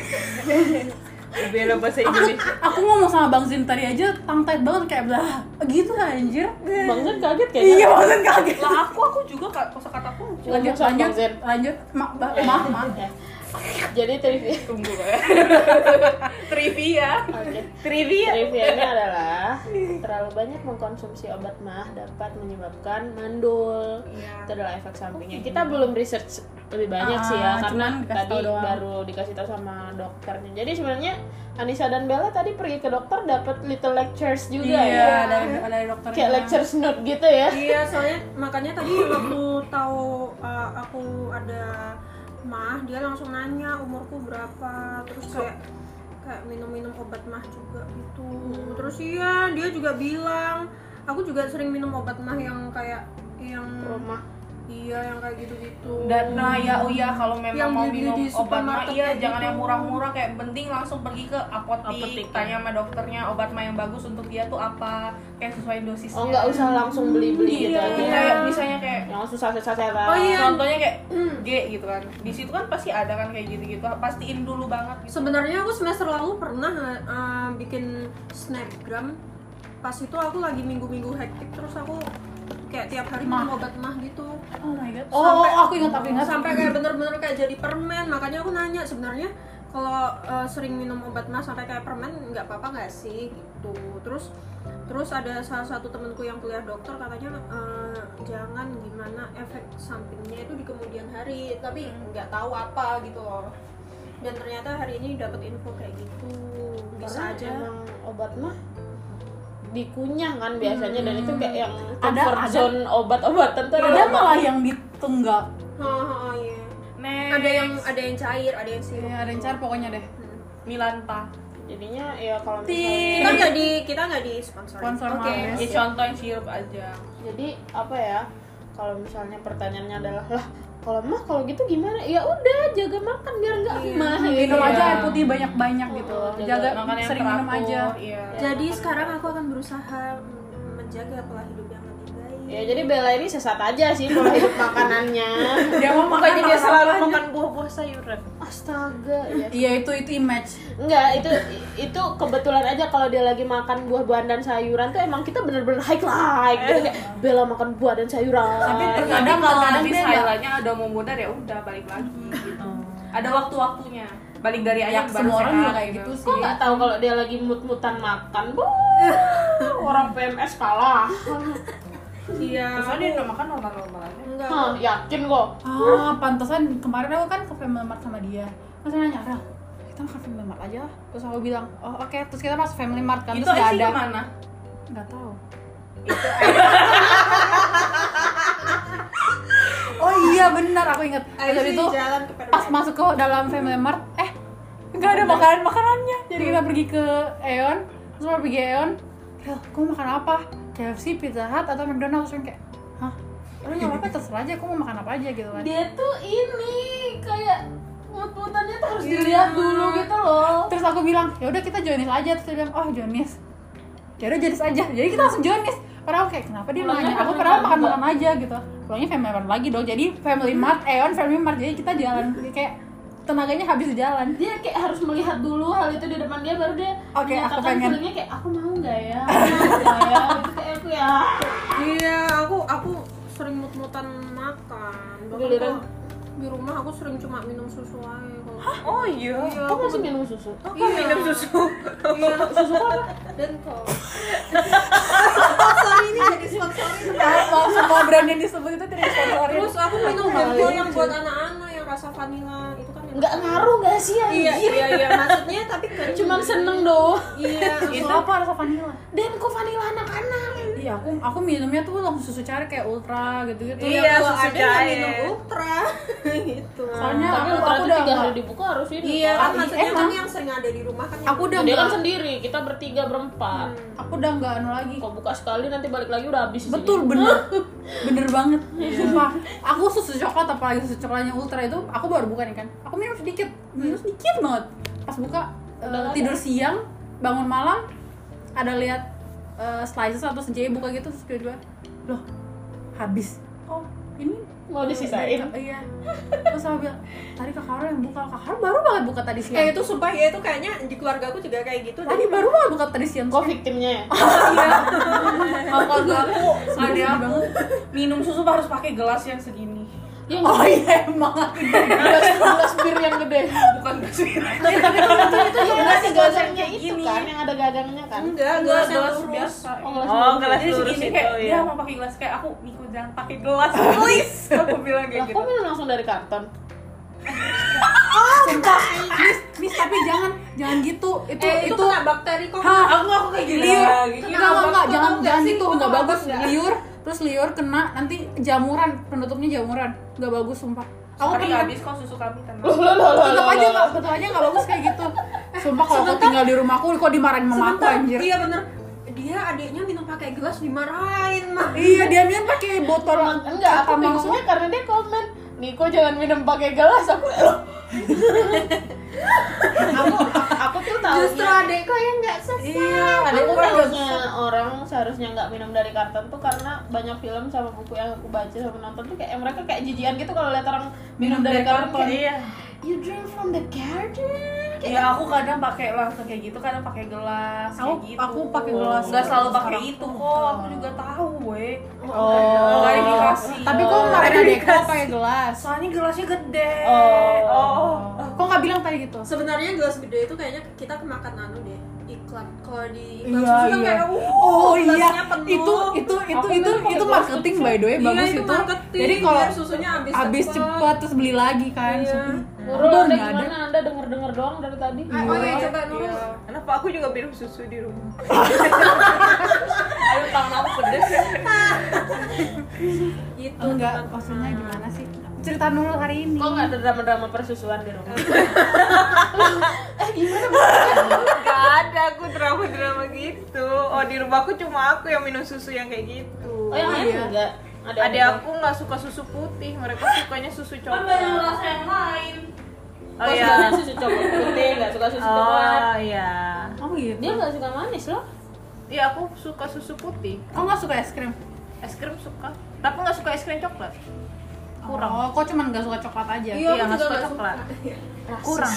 [SPEAKER 2] Bela bahasa
[SPEAKER 3] Aku,
[SPEAKER 2] Indonesia.
[SPEAKER 3] aku ngomong sama Bang Zin tadi aja tang tight banget kayak belah gitu anjir.
[SPEAKER 1] Bang Zen kaget kayaknya
[SPEAKER 3] Iya Bang Zin kaget.
[SPEAKER 2] Lah aku aku juga kak kosakataku
[SPEAKER 3] Lanjut
[SPEAKER 1] Ngomong sama
[SPEAKER 3] lanjut
[SPEAKER 1] Bang Zin.
[SPEAKER 3] lanjut. Ma, ba- maaf maaf.
[SPEAKER 1] jadi trivia
[SPEAKER 2] tunggu
[SPEAKER 3] <laughs>
[SPEAKER 2] ya. Trivia.
[SPEAKER 1] Oke.
[SPEAKER 3] Iya.
[SPEAKER 1] ya?
[SPEAKER 2] Trivia.
[SPEAKER 1] Trivianya adalah terlalu banyak mengkonsumsi obat mah dapat menyebabkan mandul.
[SPEAKER 2] Iya.
[SPEAKER 1] Itu adalah efek sampingnya. Kita belum research lebih banyak
[SPEAKER 3] Ah,
[SPEAKER 1] sih ya karena
[SPEAKER 3] cuman dikasih
[SPEAKER 1] tadi
[SPEAKER 3] tahu doang.
[SPEAKER 1] baru dikasih tahu sama dokternya. Jadi sebenarnya Anissa dan Bella tadi pergi ke dokter dapat little lectures juga
[SPEAKER 3] Iya
[SPEAKER 1] ya.
[SPEAKER 3] dari dari dokter.
[SPEAKER 1] Kayak lectures note gitu ya.
[SPEAKER 6] Iya, soalnya makanya
[SPEAKER 2] <laughs>
[SPEAKER 6] tadi waktu tahu uh, aku ada mah, dia langsung nanya umurku berapa, terus kayak kayak minum-minum obat mah juga gitu.
[SPEAKER 2] Hmm.
[SPEAKER 6] Terus iya, dia juga bilang, aku juga sering minum obat mah yang kayak yang
[SPEAKER 1] Rumah.
[SPEAKER 6] iya yang kayak gitu-gitu.
[SPEAKER 2] Dan nah ya oh ya kalau memang
[SPEAKER 6] Yang
[SPEAKER 2] mau
[SPEAKER 6] beli
[SPEAKER 2] minum
[SPEAKER 6] di
[SPEAKER 2] obat mah
[SPEAKER 6] supermarket
[SPEAKER 2] iya
[SPEAKER 6] kayak
[SPEAKER 2] jangan
[SPEAKER 6] gitu.
[SPEAKER 2] yang murah-murah kayak penting langsung pergi ke apotek,
[SPEAKER 5] Apotek.
[SPEAKER 6] ya.
[SPEAKER 2] tanya sama dokternya obat mah yang bagus untuk dia tuh apa kayak sesuai dosisnya. Iya,
[SPEAKER 1] Oh nggak usah langsung beli-beli gitu
[SPEAKER 3] Iya.
[SPEAKER 1] aja.
[SPEAKER 2] Kayak misalnya kayak
[SPEAKER 1] Yang susah-susah
[SPEAKER 6] Oh iya.
[SPEAKER 2] contohnya kayak
[SPEAKER 3] Hmm.
[SPEAKER 2] G gitu kan. Di situ kan pasti ada kan kayak gitu-gitu. Pastiin dulu banget gitu.
[SPEAKER 6] Sebenarnya aku semester lalu pernah eh, bikin snapgram. Pas itu aku lagi minggu-minggu hektik terus aku kayak tiap hari minum obat mah gitu.
[SPEAKER 3] Oh my god. Oh,
[SPEAKER 6] Sampai-
[SPEAKER 3] aku ingat aku ingat.
[SPEAKER 6] Sampai kayak bener-bener kayak jadi permen. Makanya aku nanya sebenarnya kalau eh, sering minum obat mah sampai kayak permen nggak apa-apa nggak sih gitu. Terus terus ada salah satu temenku yang kuliah dokter katanya eh, jangan gimana efek sampingnya itu di kemudian hari tapi
[SPEAKER 3] Hmm.
[SPEAKER 6] nggak tahu apa gitu loh dan ternyata hari ini dapat info kayak gitu
[SPEAKER 1] Karena
[SPEAKER 6] bisa aja
[SPEAKER 1] emang obat mah dikunyah kan biasanya dan itu kayak yang
[SPEAKER 3] Ada-
[SPEAKER 1] comfort
[SPEAKER 3] ada.
[SPEAKER 1] zone obat-obatan tuh
[SPEAKER 3] Ada malah yang ditunggak.
[SPEAKER 6] oh, oh, oh, iya.
[SPEAKER 2] Next.
[SPEAKER 6] ada yang ada yang cair ada yang sirup
[SPEAKER 3] Iya, rencar pokoknya deh.
[SPEAKER 2] Milanta.
[SPEAKER 1] jadinya ya kalau misalnya
[SPEAKER 6] kita nggak di kita nggak di sponsor
[SPEAKER 3] Sponsor
[SPEAKER 6] oke
[SPEAKER 3] maaf
[SPEAKER 2] Ya
[SPEAKER 3] ya.
[SPEAKER 2] contoh yang sirup aja.
[SPEAKER 1] jadi apa ya kalau misalnya pertanyaannya adalah lah kalau mah kalau gitu gimana ya udah jaga makan biar nggak
[SPEAKER 3] Iya.
[SPEAKER 1] mah gitu
[SPEAKER 3] Minum
[SPEAKER 1] ya.
[SPEAKER 3] aja air putih banyak-banyak gitu. Jaga
[SPEAKER 2] Makan yang
[SPEAKER 3] sering minum
[SPEAKER 2] teratur,
[SPEAKER 3] aja.
[SPEAKER 2] Iya.
[SPEAKER 6] jadi sekarang aku akan berusaha mm, menjaga pola hidup yang lebih baik
[SPEAKER 1] ya jadi Bella ini sesat aja sih pola hidup makanannya
[SPEAKER 3] Dia mau makan
[SPEAKER 5] Makanya dia
[SPEAKER 3] apa-apa
[SPEAKER 5] selalu
[SPEAKER 3] aja.
[SPEAKER 5] makan buah-buah sayuran.
[SPEAKER 1] astaga ya
[SPEAKER 3] Iya, itu itu image.
[SPEAKER 1] Enggak, itu itu kebetulan aja kalau dia lagi makan buah-buahan dan sayuran tuh emang kita bener-bener high like gitu kayak Bella makan buah dan sayuran.
[SPEAKER 2] Tapi
[SPEAKER 3] kadang
[SPEAKER 2] terkadang
[SPEAKER 3] kalau
[SPEAKER 2] kalau nanti
[SPEAKER 3] nanti
[SPEAKER 2] stylenya ada mau mudar ya udah balik lagi
[SPEAKER 6] Hmm.
[SPEAKER 2] gitu. Ada waktu-waktunya. Balik dari
[SPEAKER 6] Ya,
[SPEAKER 2] ayam baru
[SPEAKER 3] Ya, semua orang
[SPEAKER 2] sehat,
[SPEAKER 3] juga kayak gitu sih.
[SPEAKER 1] kok nggak tahu kalau dia lagi mut-mutan makan, bu? Orang PMS kalah.
[SPEAKER 6] iya
[SPEAKER 2] Terus dia udah makan normal-normal aja.
[SPEAKER 6] enggak
[SPEAKER 1] Hah, yakin kok.
[SPEAKER 3] Ah, pantesan kemarin aku kan ke Family Mart sama dia. Terus dia nanya, "Rel, kita makan Family Mart aja lah." Terus aku bilang, "Oh, oke." Terus kita masuk Family Mart kan,
[SPEAKER 2] Itu
[SPEAKER 3] terus nggak
[SPEAKER 2] IC
[SPEAKER 3] ada.
[SPEAKER 2] kemana?
[SPEAKER 3] Nggak tahu.
[SPEAKER 2] Itu
[SPEAKER 3] <laughs> Oh iya, benar aku ingat. Terus habis
[SPEAKER 6] Ayo
[SPEAKER 3] itu
[SPEAKER 6] jalan ke
[SPEAKER 3] pas masuk ke dalam Family Mart, eh nggak ada makanan makanannya. Jadi kita pergi ke Aeon, terus mau pergi Aeon, Rel, kamu makan apa? KFC, Pizza Hut, atau McDonald's? Terus kayak, hah? Lu nggak apa-apa, terserah aja, aku mau makan apa aja gitu kan
[SPEAKER 1] Dia tuh ini kayak mut-mutannya tuh
[SPEAKER 3] Iya.
[SPEAKER 1] harus dilihat dulu gitu loh.
[SPEAKER 3] terus aku bilang ya udah kita Jonis aja terus dia bilang oh Jonis ya udah Jonis aja jadi kita langsung Jonis padahal aku kayak kenapa dia
[SPEAKER 1] Pulangnya
[SPEAKER 3] nanya aku
[SPEAKER 1] makan
[SPEAKER 3] padahal
[SPEAKER 1] makan
[SPEAKER 3] makan
[SPEAKER 1] juga.
[SPEAKER 3] makan aja gitu pulangnya family mart lagi dong jadi family
[SPEAKER 1] Hmm.
[SPEAKER 3] mart Aeon family mart jadi kita jalan kayak tenaganya habis di jalan
[SPEAKER 1] Dia kayak harus melihat dulu hal itu di depan dia baru dia
[SPEAKER 3] Oke, aku
[SPEAKER 1] menyatakan
[SPEAKER 3] pengen.
[SPEAKER 1] feelingnya kayak aku mau nggak ya?
[SPEAKER 3] <laughs>
[SPEAKER 1] Aku mau nggak ya? Gitu kayak aku ya.
[SPEAKER 6] iya aku aku sering mut-mutan makan Bahkan
[SPEAKER 1] Giliran.
[SPEAKER 6] kalau di rumah aku sering cuma minum susu aja kalau
[SPEAKER 2] Oh iya.
[SPEAKER 6] Iya,
[SPEAKER 1] Kok masih minum susu?
[SPEAKER 6] aku minum susu <laughs>
[SPEAKER 1] Susu kok apa?
[SPEAKER 6] Iya. dan kok
[SPEAKER 3] semua, semua brand yang disebut itu tidak disponsorin
[SPEAKER 6] terus aku minum Benko yang buat anak-anak yang rasa vanilla itu kan yang
[SPEAKER 1] Nggak ngaruh nggak sih ya?
[SPEAKER 6] iya iya iya maksudnya <laughs> tapi kan
[SPEAKER 1] Cuman seneng doang.
[SPEAKER 6] <laughs> iya
[SPEAKER 3] itu apa rasa vanilla
[SPEAKER 1] Dan kok vanilla anak-anak?
[SPEAKER 3] iya aku aku minumnya tuh langsung susu cair kayak ultra gitu gitu
[SPEAKER 2] Iya,
[SPEAKER 6] Kalau
[SPEAKER 2] susu
[SPEAKER 6] ada yang
[SPEAKER 2] jahe.
[SPEAKER 6] minum ultra <laughs> gitu
[SPEAKER 3] soalnya
[SPEAKER 1] Tapi
[SPEAKER 3] Iya, aku,
[SPEAKER 1] kalau
[SPEAKER 3] aku
[SPEAKER 1] tiga
[SPEAKER 3] udah
[SPEAKER 1] hari
[SPEAKER 3] nggak-
[SPEAKER 1] dibuka harus ini.
[SPEAKER 6] iya
[SPEAKER 1] Pak.
[SPEAKER 6] kan maksudnya
[SPEAKER 3] emang.
[SPEAKER 6] kan yang sering ada di rumah kan yang-
[SPEAKER 3] aku udah
[SPEAKER 1] Dia kan
[SPEAKER 3] nggak-
[SPEAKER 1] sendiri, kita bertiga berempat.
[SPEAKER 3] aku udah nggak anu lagi
[SPEAKER 1] Kok buka sekali nanti balik lagi udah habis. isinya.
[SPEAKER 3] Betul bener Bener banget Sumpah Aku susu coklat apalagi susu coklatnya ultra itu Aku baru buka nih kan Aku minum sedikit Minum sedikit banget Pas buka
[SPEAKER 1] Udah
[SPEAKER 3] eh,
[SPEAKER 1] nggak
[SPEAKER 3] Tidur siang Bangun malam Ada lihat eh, slices atau sejayi buka gitu Terus tiba-tiba loh habis oh ini
[SPEAKER 1] mau disisain
[SPEAKER 3] iya terus sama bilang tadi kak Haro yang buka kak Haro baru banget buka tadi siang
[SPEAKER 6] Eh itu sumpah ya itu kayaknya di keluarga aku juga kayak gitu. Iya.
[SPEAKER 3] tadi baru banget buka tadi siang
[SPEAKER 1] kok viktimnya ya
[SPEAKER 2] Kalau aku
[SPEAKER 3] Sedih
[SPEAKER 2] Iya. ada aku
[SPEAKER 3] banget.
[SPEAKER 2] minum susu harus pakai gelas yang segini.
[SPEAKER 1] <laughs> yang
[SPEAKER 3] oh iya emang
[SPEAKER 1] gelas gelas bir yang gede
[SPEAKER 2] Bukan kesulitan.
[SPEAKER 1] tapi tapi kalau Iya, itu itu gelas
[SPEAKER 2] gelas
[SPEAKER 1] gelasnya
[SPEAKER 2] kayak
[SPEAKER 1] itu
[SPEAKER 2] gini.
[SPEAKER 1] kan yang ada gadangnya kan
[SPEAKER 6] Enggak,
[SPEAKER 2] Gelas,
[SPEAKER 6] yang
[SPEAKER 2] gelas
[SPEAKER 6] lurus.
[SPEAKER 2] biasa.
[SPEAKER 1] oh gelas
[SPEAKER 7] Oh,
[SPEAKER 1] lurus.
[SPEAKER 7] gelas
[SPEAKER 2] Jadi
[SPEAKER 7] lurus
[SPEAKER 2] segini
[SPEAKER 7] itu
[SPEAKER 2] kayak
[SPEAKER 6] iya.
[SPEAKER 2] dia
[SPEAKER 7] ya.
[SPEAKER 2] mau pakai gelas kayak aku Niko jangan pakai gelas
[SPEAKER 6] <laughs>
[SPEAKER 2] please. aku bilang
[SPEAKER 1] lah
[SPEAKER 2] kayak
[SPEAKER 1] kok
[SPEAKER 2] gitu.
[SPEAKER 1] minum langsung dari karton
[SPEAKER 3] mis mis tapi jangan jangan gitu itu
[SPEAKER 6] Eh, itu,
[SPEAKER 3] itu
[SPEAKER 6] kena Iya, bakteri kok.
[SPEAKER 3] Hah,
[SPEAKER 2] Aku aku kayak gini.
[SPEAKER 3] liur
[SPEAKER 2] gitu.
[SPEAKER 3] enggak enggak enggak
[SPEAKER 6] Kena
[SPEAKER 3] jangan
[SPEAKER 6] bagus,
[SPEAKER 3] jangan
[SPEAKER 6] sih?
[SPEAKER 3] gitu
[SPEAKER 6] Kena
[SPEAKER 3] enggak bagus
[SPEAKER 6] bagus, enggak?
[SPEAKER 3] liur terus liur kena nanti jamuran penutupnya jamuran enggak bagus sumpah aku
[SPEAKER 2] Sorry,
[SPEAKER 3] pernah
[SPEAKER 2] habis kok susu kami tenang.
[SPEAKER 1] lo lo lo
[SPEAKER 3] tetap aja nggak tetap aja nggak bagus kayak
[SPEAKER 6] <laughs>
[SPEAKER 3] gitu sumpah kalau aku tinggal di rumahku kok dimarahin mama aku
[SPEAKER 6] Sebentar,
[SPEAKER 3] anjir
[SPEAKER 6] Iya bener. Dia adiknya minum pakai gelas dimarahin mah.
[SPEAKER 3] iya dia minum pakai botol
[SPEAKER 1] enggak aku
[SPEAKER 3] kata mama.
[SPEAKER 1] bingungnya karena dia komen Niko jangan minum pakai gelas aku loh <laughs> aku aku tuh Iya, tahu
[SPEAKER 6] Justru adekku yang nggak sesat.
[SPEAKER 3] Iya,
[SPEAKER 1] aku tahunya orang seharusnya nggak minum dari karton tuh karena banyak film sama buku yang aku baca sama nonton tuh kayak mereka kayak jijian gitu kalau lihat orang minum, dari, karton
[SPEAKER 2] Iya.
[SPEAKER 1] you drink from the garden
[SPEAKER 2] Ya aku kadang pakai langsung kayak gitu, kadang pakai gelas kayak
[SPEAKER 3] Aku-
[SPEAKER 2] gitu.
[SPEAKER 3] aku pakai gelas.
[SPEAKER 2] Enggak selalu pakai
[SPEAKER 3] Sekarang.
[SPEAKER 2] itu kok. Aku juga tahu, we.
[SPEAKER 1] Oh.
[SPEAKER 2] klarifikasi.
[SPEAKER 3] tapi kok marahin
[SPEAKER 6] <laughs>
[SPEAKER 3] adik kok pakai gelas
[SPEAKER 2] soalnya gelasnya gede.
[SPEAKER 1] Oh.
[SPEAKER 3] kok nggak bilang tadi gitu
[SPEAKER 6] Sebenarnya gelas gede itu kayaknya kita kemakan anu deh iklan kalau di iklan
[SPEAKER 3] Iya,
[SPEAKER 6] susu kan
[SPEAKER 3] iya.
[SPEAKER 6] kayak uh,
[SPEAKER 3] Oh iya,
[SPEAKER 6] gelasnya penuh.
[SPEAKER 3] itu itu itu
[SPEAKER 2] Aku
[SPEAKER 3] itu
[SPEAKER 2] minum pakai
[SPEAKER 3] itu
[SPEAKER 2] gelas
[SPEAKER 3] marketing by the way
[SPEAKER 6] Iya,
[SPEAKER 3] bagus
[SPEAKER 6] itu
[SPEAKER 3] itu.
[SPEAKER 6] marketing,
[SPEAKER 3] Jadi kalau
[SPEAKER 6] biar susunya habis
[SPEAKER 3] habis
[SPEAKER 6] cepet.
[SPEAKER 3] cepet terus beli lagi kan.
[SPEAKER 6] Iya.
[SPEAKER 3] susu.
[SPEAKER 1] Nurul
[SPEAKER 3] Untung
[SPEAKER 1] anda
[SPEAKER 3] nggak ada.
[SPEAKER 1] gimana anda denger denger doang dari tadi
[SPEAKER 6] Ah, oh iya coba Nurul.
[SPEAKER 7] Kenapa aku juga minum susu di
[SPEAKER 2] <laughs>
[SPEAKER 7] rumah?
[SPEAKER 2] Aduh, tangan aku pedes ya.
[SPEAKER 6] Gitu.
[SPEAKER 3] Enggak, maksudnya gimana sih? Cerita Nurul hari ini.
[SPEAKER 1] kok nggak ada drama drama persusuan di rumah
[SPEAKER 7] Gak ada aku drama-drama gitu. Oh di rumah aku cuma aku yang minum susu yang kayak gitu.
[SPEAKER 1] oh yang lain enggak ada
[SPEAKER 7] Ada aku nggak suka susu putih, mereka sukanya susu
[SPEAKER 2] Kan
[SPEAKER 7] coklat.
[SPEAKER 2] banyak rasa yang lain.
[SPEAKER 7] Oh
[SPEAKER 1] Oh,
[SPEAKER 7] iya.
[SPEAKER 1] sukanya susu coklat putih, nggak suka susu coklat.
[SPEAKER 7] Oh iya.
[SPEAKER 3] Oh iya.
[SPEAKER 1] Dia nggak suka manis loh.
[SPEAKER 7] Iya aku suka susu putih.
[SPEAKER 3] Kok nggak suka es krim?
[SPEAKER 7] Es krim suka, tapi nggak suka es krim coklat.
[SPEAKER 3] Kurang. Oh, kok cuman nggak suka coklat aja? Iya.
[SPEAKER 6] Iya, aku
[SPEAKER 7] nggak
[SPEAKER 6] juga
[SPEAKER 7] suka
[SPEAKER 6] nggak suka. Iya.
[SPEAKER 7] coklat.
[SPEAKER 3] Kurang.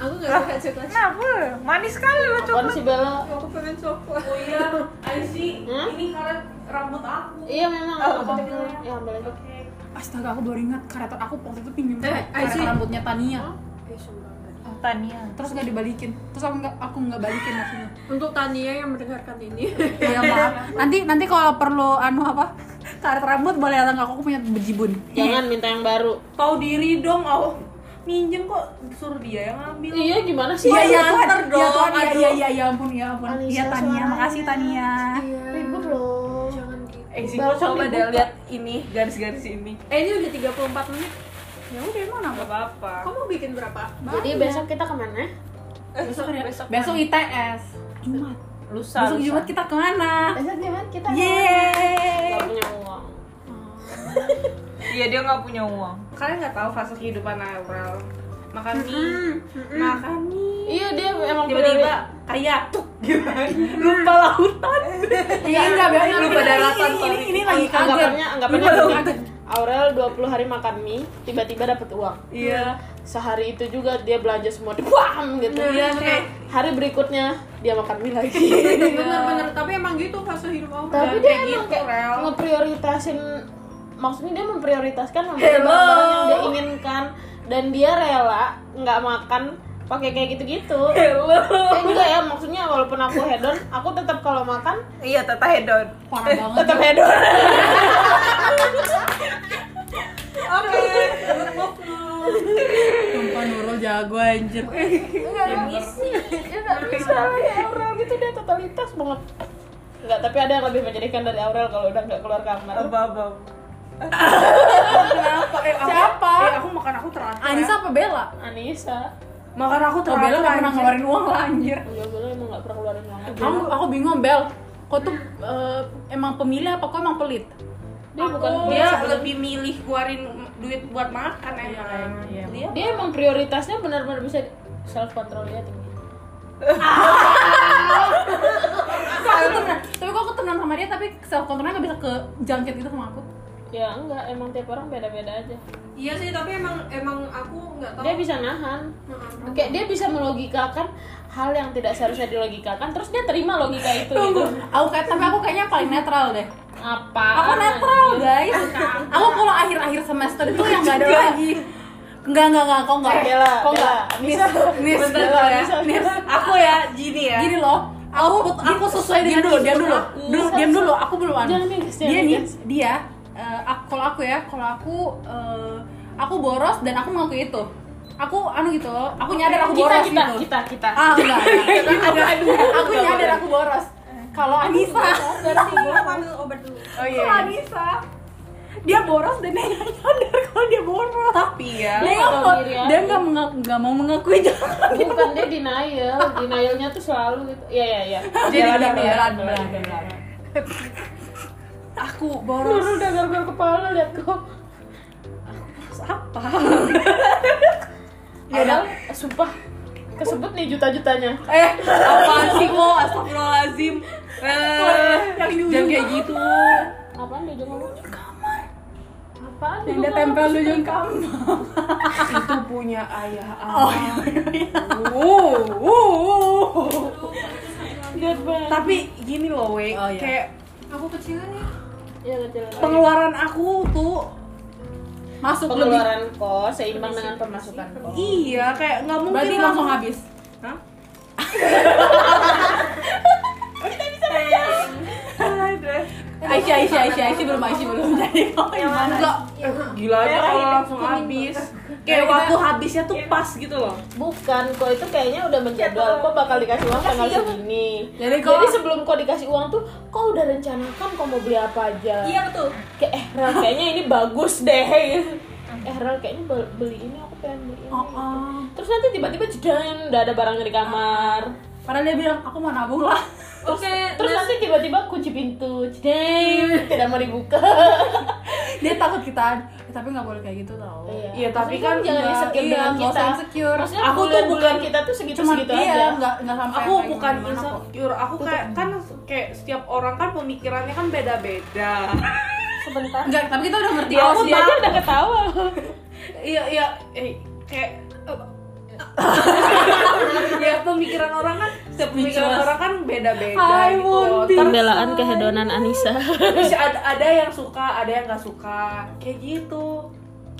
[SPEAKER 6] Aku nggak suka coklat.
[SPEAKER 7] Kenapa? Manis sekali loh
[SPEAKER 1] Apaan
[SPEAKER 7] coklat.
[SPEAKER 1] sih Bella?
[SPEAKER 6] Aku pengen coklat.
[SPEAKER 2] Oh iya, I see.
[SPEAKER 1] Hmm?
[SPEAKER 2] Ini karet rambut aku.
[SPEAKER 1] Iya memang.
[SPEAKER 7] Oh,
[SPEAKER 1] aku pikir- Ya ambil aja.
[SPEAKER 2] Oke.
[SPEAKER 3] Astaga, aku baru ingat karetor aku waktu itu pinjam
[SPEAKER 6] Eh,
[SPEAKER 3] karet
[SPEAKER 6] Aisyah.
[SPEAKER 3] rambutnya Tania.
[SPEAKER 6] Eh, sumpah, enggak.
[SPEAKER 7] Tania.
[SPEAKER 3] Terus nggak dibalikin. Terus aku nggak aku nggak balikin
[SPEAKER 6] <laughs>
[SPEAKER 3] maksudnya.
[SPEAKER 6] Untuk Tania yang mendengarkan ini.
[SPEAKER 3] Ya maaf. Nanti nanti kalau perlu anu apa? Karet rambut boleh datang ke aku, aku punya bejibun.
[SPEAKER 6] Iya,
[SPEAKER 1] Jangan minta yang baru.
[SPEAKER 2] Tahu diri dong, aku minjem kok suruh dia yang ngambil.
[SPEAKER 1] Iya gimana sih?
[SPEAKER 3] Iya iya Tuhan,
[SPEAKER 2] nganter
[SPEAKER 3] iya
[SPEAKER 2] dong,
[SPEAKER 3] Tuhan, iya
[SPEAKER 2] aduh.
[SPEAKER 3] iya iya ya ampun ya ampun. Iya Tania, makasih Tania.
[SPEAKER 1] Ribut loh.
[SPEAKER 6] Jangan gitu.
[SPEAKER 2] Eh, sih, gua coba deh lihat ini garis-garis ini.
[SPEAKER 6] Eh, ini udah 34 menit.
[SPEAKER 3] Ya udah emang
[SPEAKER 2] Gak
[SPEAKER 3] nggak
[SPEAKER 2] apa-apa.
[SPEAKER 6] Kamu bikin berapa?
[SPEAKER 1] Jadi besok kita kemana?
[SPEAKER 2] Besok besok
[SPEAKER 3] Besok ITS. Jumat.
[SPEAKER 2] lusa.
[SPEAKER 3] Besok Jumat kita kemana?
[SPEAKER 1] Besok gimana kita?
[SPEAKER 3] Yeay.
[SPEAKER 1] Gak punya uang.
[SPEAKER 7] Iya dia nggak punya uang.
[SPEAKER 2] Kalian nggak tahu fase kehidupan Aurel. Makan mie, makan mie.
[SPEAKER 1] Iya dia emang
[SPEAKER 2] Tiba-tiba kayak tuk gitu. Lupa lautan.
[SPEAKER 3] Iya enggak Bel. Ini-
[SPEAKER 2] Lupa
[SPEAKER 3] ini-
[SPEAKER 2] daratan,
[SPEAKER 3] ini-
[SPEAKER 2] sorry.
[SPEAKER 3] Ini ini lagi kaget. Iya,
[SPEAKER 1] Anggapannya, anggapannya gini. Aurel 20 hari makan mie, tiba-tiba dapat uang.
[SPEAKER 2] Iya.
[SPEAKER 1] Sehari itu juga dia belanja semua, dibuang gitu.
[SPEAKER 2] Iya, kayak
[SPEAKER 1] Hari berikutnya dia makan mie
[SPEAKER 2] <laughs>
[SPEAKER 1] lagi.
[SPEAKER 6] Bener-bener, tapi emang gitu fase hidup aku.
[SPEAKER 1] Tapi
[SPEAKER 2] Dan
[SPEAKER 1] dia
[SPEAKER 2] kayak
[SPEAKER 1] emang
[SPEAKER 2] gitu,
[SPEAKER 1] kayak
[SPEAKER 2] Rel.
[SPEAKER 1] ngeprioritasin maksudnya dia memprioritaskan membeli barang yang dia inginkan dan dia rela nggak makan pakai kayak gitu-gitu. Saya juga ya maksudnya walaupun aku hedon, aku tetap kalau makan
[SPEAKER 7] Iya tata hedon.
[SPEAKER 3] Parah banget.
[SPEAKER 7] Tetap hedon.
[SPEAKER 6] Oke, good move, Nur.
[SPEAKER 3] Sumpah Nurul jago anjir.
[SPEAKER 1] nggak bisa, nggak bisa ya Aurel gitu dia totalitas banget. Nggak, tapi ada yang lebih menyedihkan dari Aurel kalau udah nggak keluar kamar.
[SPEAKER 7] Abab.
[SPEAKER 2] Kenapa? Eh, aku-
[SPEAKER 3] Siapa?
[SPEAKER 2] Eh, aku makan aku teratur.
[SPEAKER 3] Anissa
[SPEAKER 2] ya.
[SPEAKER 3] apa Bella?
[SPEAKER 1] Anissa,
[SPEAKER 2] Makan aku
[SPEAKER 3] Oh
[SPEAKER 2] teratur.
[SPEAKER 3] Bella nggak pernah
[SPEAKER 2] anjing.
[SPEAKER 3] ngeluarin uang lah anjir.
[SPEAKER 1] ya gue emang nggak pernah keluarin uang.
[SPEAKER 3] Aku aku bingung Bel. Kau tuh eh, emang pemilih apa kau emang pelit?
[SPEAKER 1] Dia bukan
[SPEAKER 2] Dia lebih milih keluarin duit buat makan
[SPEAKER 1] Iya,
[SPEAKER 2] emang.
[SPEAKER 7] Iya.
[SPEAKER 2] Dia
[SPEAKER 1] dia emang prioritasnya benar-benar bisa self controlnya tinggi
[SPEAKER 3] Tapi, tapi kok aku temenan sama dia tapi self controlnya nggak bisa ke jangkit gitu sama aku
[SPEAKER 1] ya enggak emang tiap orang beda-beda aja
[SPEAKER 6] Iya sih, tapi emang emang aku nggak tahu.
[SPEAKER 3] Oh.
[SPEAKER 1] dia bisa nahan
[SPEAKER 6] Heeh.
[SPEAKER 1] kayak dia bisa melogikakan hal yang tidak seharusnya dilogikakan terus dia terima logika itu gitu.
[SPEAKER 3] aku kayak tapi aku kayaknya paling netral deh
[SPEAKER 1] apa
[SPEAKER 3] aku netral guys aku kalau akhir-akhir semester itu yang nggak ada lagi Enggak, enggak, enggak, kok enggak
[SPEAKER 1] Bella,
[SPEAKER 3] Kok enggak?
[SPEAKER 1] Bella,
[SPEAKER 3] Miss, miss, Bella ya Miss,
[SPEAKER 7] Aku ya, gini ya.
[SPEAKER 3] gini loh Iya. aku aku sesuai dengan dulu diam dulu dulu diam dulu aku belum ada
[SPEAKER 1] Jangan nangis, jangan
[SPEAKER 3] dia nih
[SPEAKER 1] nangis.
[SPEAKER 3] dia eh, aku, kalau aku ya kalau aku eh, aku boros dan aku mengakui itu aku anu gitu aku nyadar aku
[SPEAKER 1] kita
[SPEAKER 3] boros
[SPEAKER 1] kita
[SPEAKER 3] gitu
[SPEAKER 1] kita kita
[SPEAKER 3] ah enggak enggak. aku, aku nyadar aku boros kalau Anissa
[SPEAKER 6] Aku ambil obat
[SPEAKER 1] <laughs>
[SPEAKER 6] dulu.
[SPEAKER 7] Oh
[SPEAKER 3] kalau Anissa dia boros dan dia nggak nyadar kalau dia boros
[SPEAKER 7] Tapi ya.
[SPEAKER 3] dia nggak mau dia nggak mengaku- nggak mau mengakui jangan
[SPEAKER 1] bukan dia denial denialnya tuh selalu gitu ya ya ya
[SPEAKER 7] Jadi
[SPEAKER 3] Bella,
[SPEAKER 7] gini
[SPEAKER 3] Bella,
[SPEAKER 7] ya.
[SPEAKER 3] Bella, Bella.
[SPEAKER 7] Aku
[SPEAKER 1] Lu
[SPEAKER 7] boros.
[SPEAKER 1] udah gargar kepala liat kok
[SPEAKER 3] apa
[SPEAKER 1] ya udah
[SPEAKER 3] Iya.
[SPEAKER 1] sumpah kesebut nih juta-jutanya
[SPEAKER 7] Eh, apaan sih lo? Astagfirullahalazim. Eh,
[SPEAKER 3] yang dulu
[SPEAKER 7] jangan kayak gitu.
[SPEAKER 1] apaan dia ngomong di kamar apaan dia
[SPEAKER 3] yang dia
[SPEAKER 1] ngomong?
[SPEAKER 3] tempel di ujung kamar
[SPEAKER 7] Itu punya ayah
[SPEAKER 3] Oh,
[SPEAKER 7] aku.
[SPEAKER 3] iya,
[SPEAKER 7] Uh, Wuh, wuh, wuh.
[SPEAKER 1] Liat banget
[SPEAKER 7] Tapi gini loh, we.
[SPEAKER 3] Oh, iya.
[SPEAKER 7] Kayak
[SPEAKER 3] aku kecilan ya
[SPEAKER 1] ya kecil
[SPEAKER 7] pengeluaran aku tuh
[SPEAKER 3] masuk lebih
[SPEAKER 1] pengeluaran kos seimbang dengan pemasukan kos
[SPEAKER 7] iya kayak nggak mungkin
[SPEAKER 3] berarti
[SPEAKER 7] lah.
[SPEAKER 3] langsung habis
[SPEAKER 7] Hah?
[SPEAKER 6] Iya,
[SPEAKER 3] Aisyah, Aisyah, Aisyah, Aisyah belum, Aisyah belum <laughs> jadi kamu gimana?
[SPEAKER 7] Enggak, gila aja kalau langsung habis Kayak
[SPEAKER 3] Kayak
[SPEAKER 7] waktu
[SPEAKER 3] kita-
[SPEAKER 7] habisnya tuh
[SPEAKER 2] Iya.
[SPEAKER 6] Iya,
[SPEAKER 7] pas gitu loh
[SPEAKER 1] bukan kok itu kayaknya udah menjadwal kok bakal dikasih uang tanggal segini
[SPEAKER 3] Jadi
[SPEAKER 1] jadi,
[SPEAKER 3] kok-
[SPEAKER 1] sebelum kok dikasih uang tuh kok udah rencanakan kok mau beli apa aja
[SPEAKER 6] Iya betul.
[SPEAKER 1] kayak eh Rel kayaknya ini bagus <laughs> deh eh Rel kayaknya bel- beli ini aku pengen beli ini
[SPEAKER 3] Oh, oh.
[SPEAKER 1] terus nanti tiba-tiba jedang udah ada barangnya di kamar
[SPEAKER 3] Padahal dia bilang aku mau nabung lah.
[SPEAKER 6] Oke,
[SPEAKER 1] terus nanti tiba-tiba kunci pintu <laughs> jedang tidak mau dibuka
[SPEAKER 3] Dia takut kita, "Eh, tapi nggak boleh kayak gitu tau.
[SPEAKER 7] Iya, tapi
[SPEAKER 1] Maksudnya
[SPEAKER 7] kan
[SPEAKER 1] jangan
[SPEAKER 3] nggak-
[SPEAKER 1] insecure
[SPEAKER 3] iya,
[SPEAKER 1] dengan
[SPEAKER 3] nggak
[SPEAKER 1] kita
[SPEAKER 3] usah insecure.
[SPEAKER 1] Maksudnya
[SPEAKER 7] Aku
[SPEAKER 1] aku
[SPEAKER 7] tuh
[SPEAKER 1] tuh bukan
[SPEAKER 7] bukan-
[SPEAKER 1] kita tuh segitu
[SPEAKER 3] Cuman
[SPEAKER 1] segitu
[SPEAKER 3] iya,
[SPEAKER 1] aja
[SPEAKER 3] nggak nggak
[SPEAKER 7] aku
[SPEAKER 3] sampai. yang kayak
[SPEAKER 7] bukan
[SPEAKER 3] gimana kok.
[SPEAKER 7] insecure aku kayak kan kayak setiap orang kan pemikirannya kan
[SPEAKER 6] <laughs>
[SPEAKER 7] beda-beda
[SPEAKER 1] sebentar
[SPEAKER 3] Nggak, tapi kita udah ngerti.
[SPEAKER 1] dia
[SPEAKER 7] Aku
[SPEAKER 1] dia aja
[SPEAKER 7] tahu.
[SPEAKER 1] udah ketawa
[SPEAKER 7] iya iya eh, kayak
[SPEAKER 6] <laughs>
[SPEAKER 7] ya pemikiran orang kan setiap pemikiran orang kan beda-beda
[SPEAKER 3] I
[SPEAKER 7] gitu loh.
[SPEAKER 3] want peace.
[SPEAKER 7] Ter-
[SPEAKER 1] pembelaan kehedonan Anissa
[SPEAKER 7] terus ada, ada yang suka ada yang nggak suka kayak gitu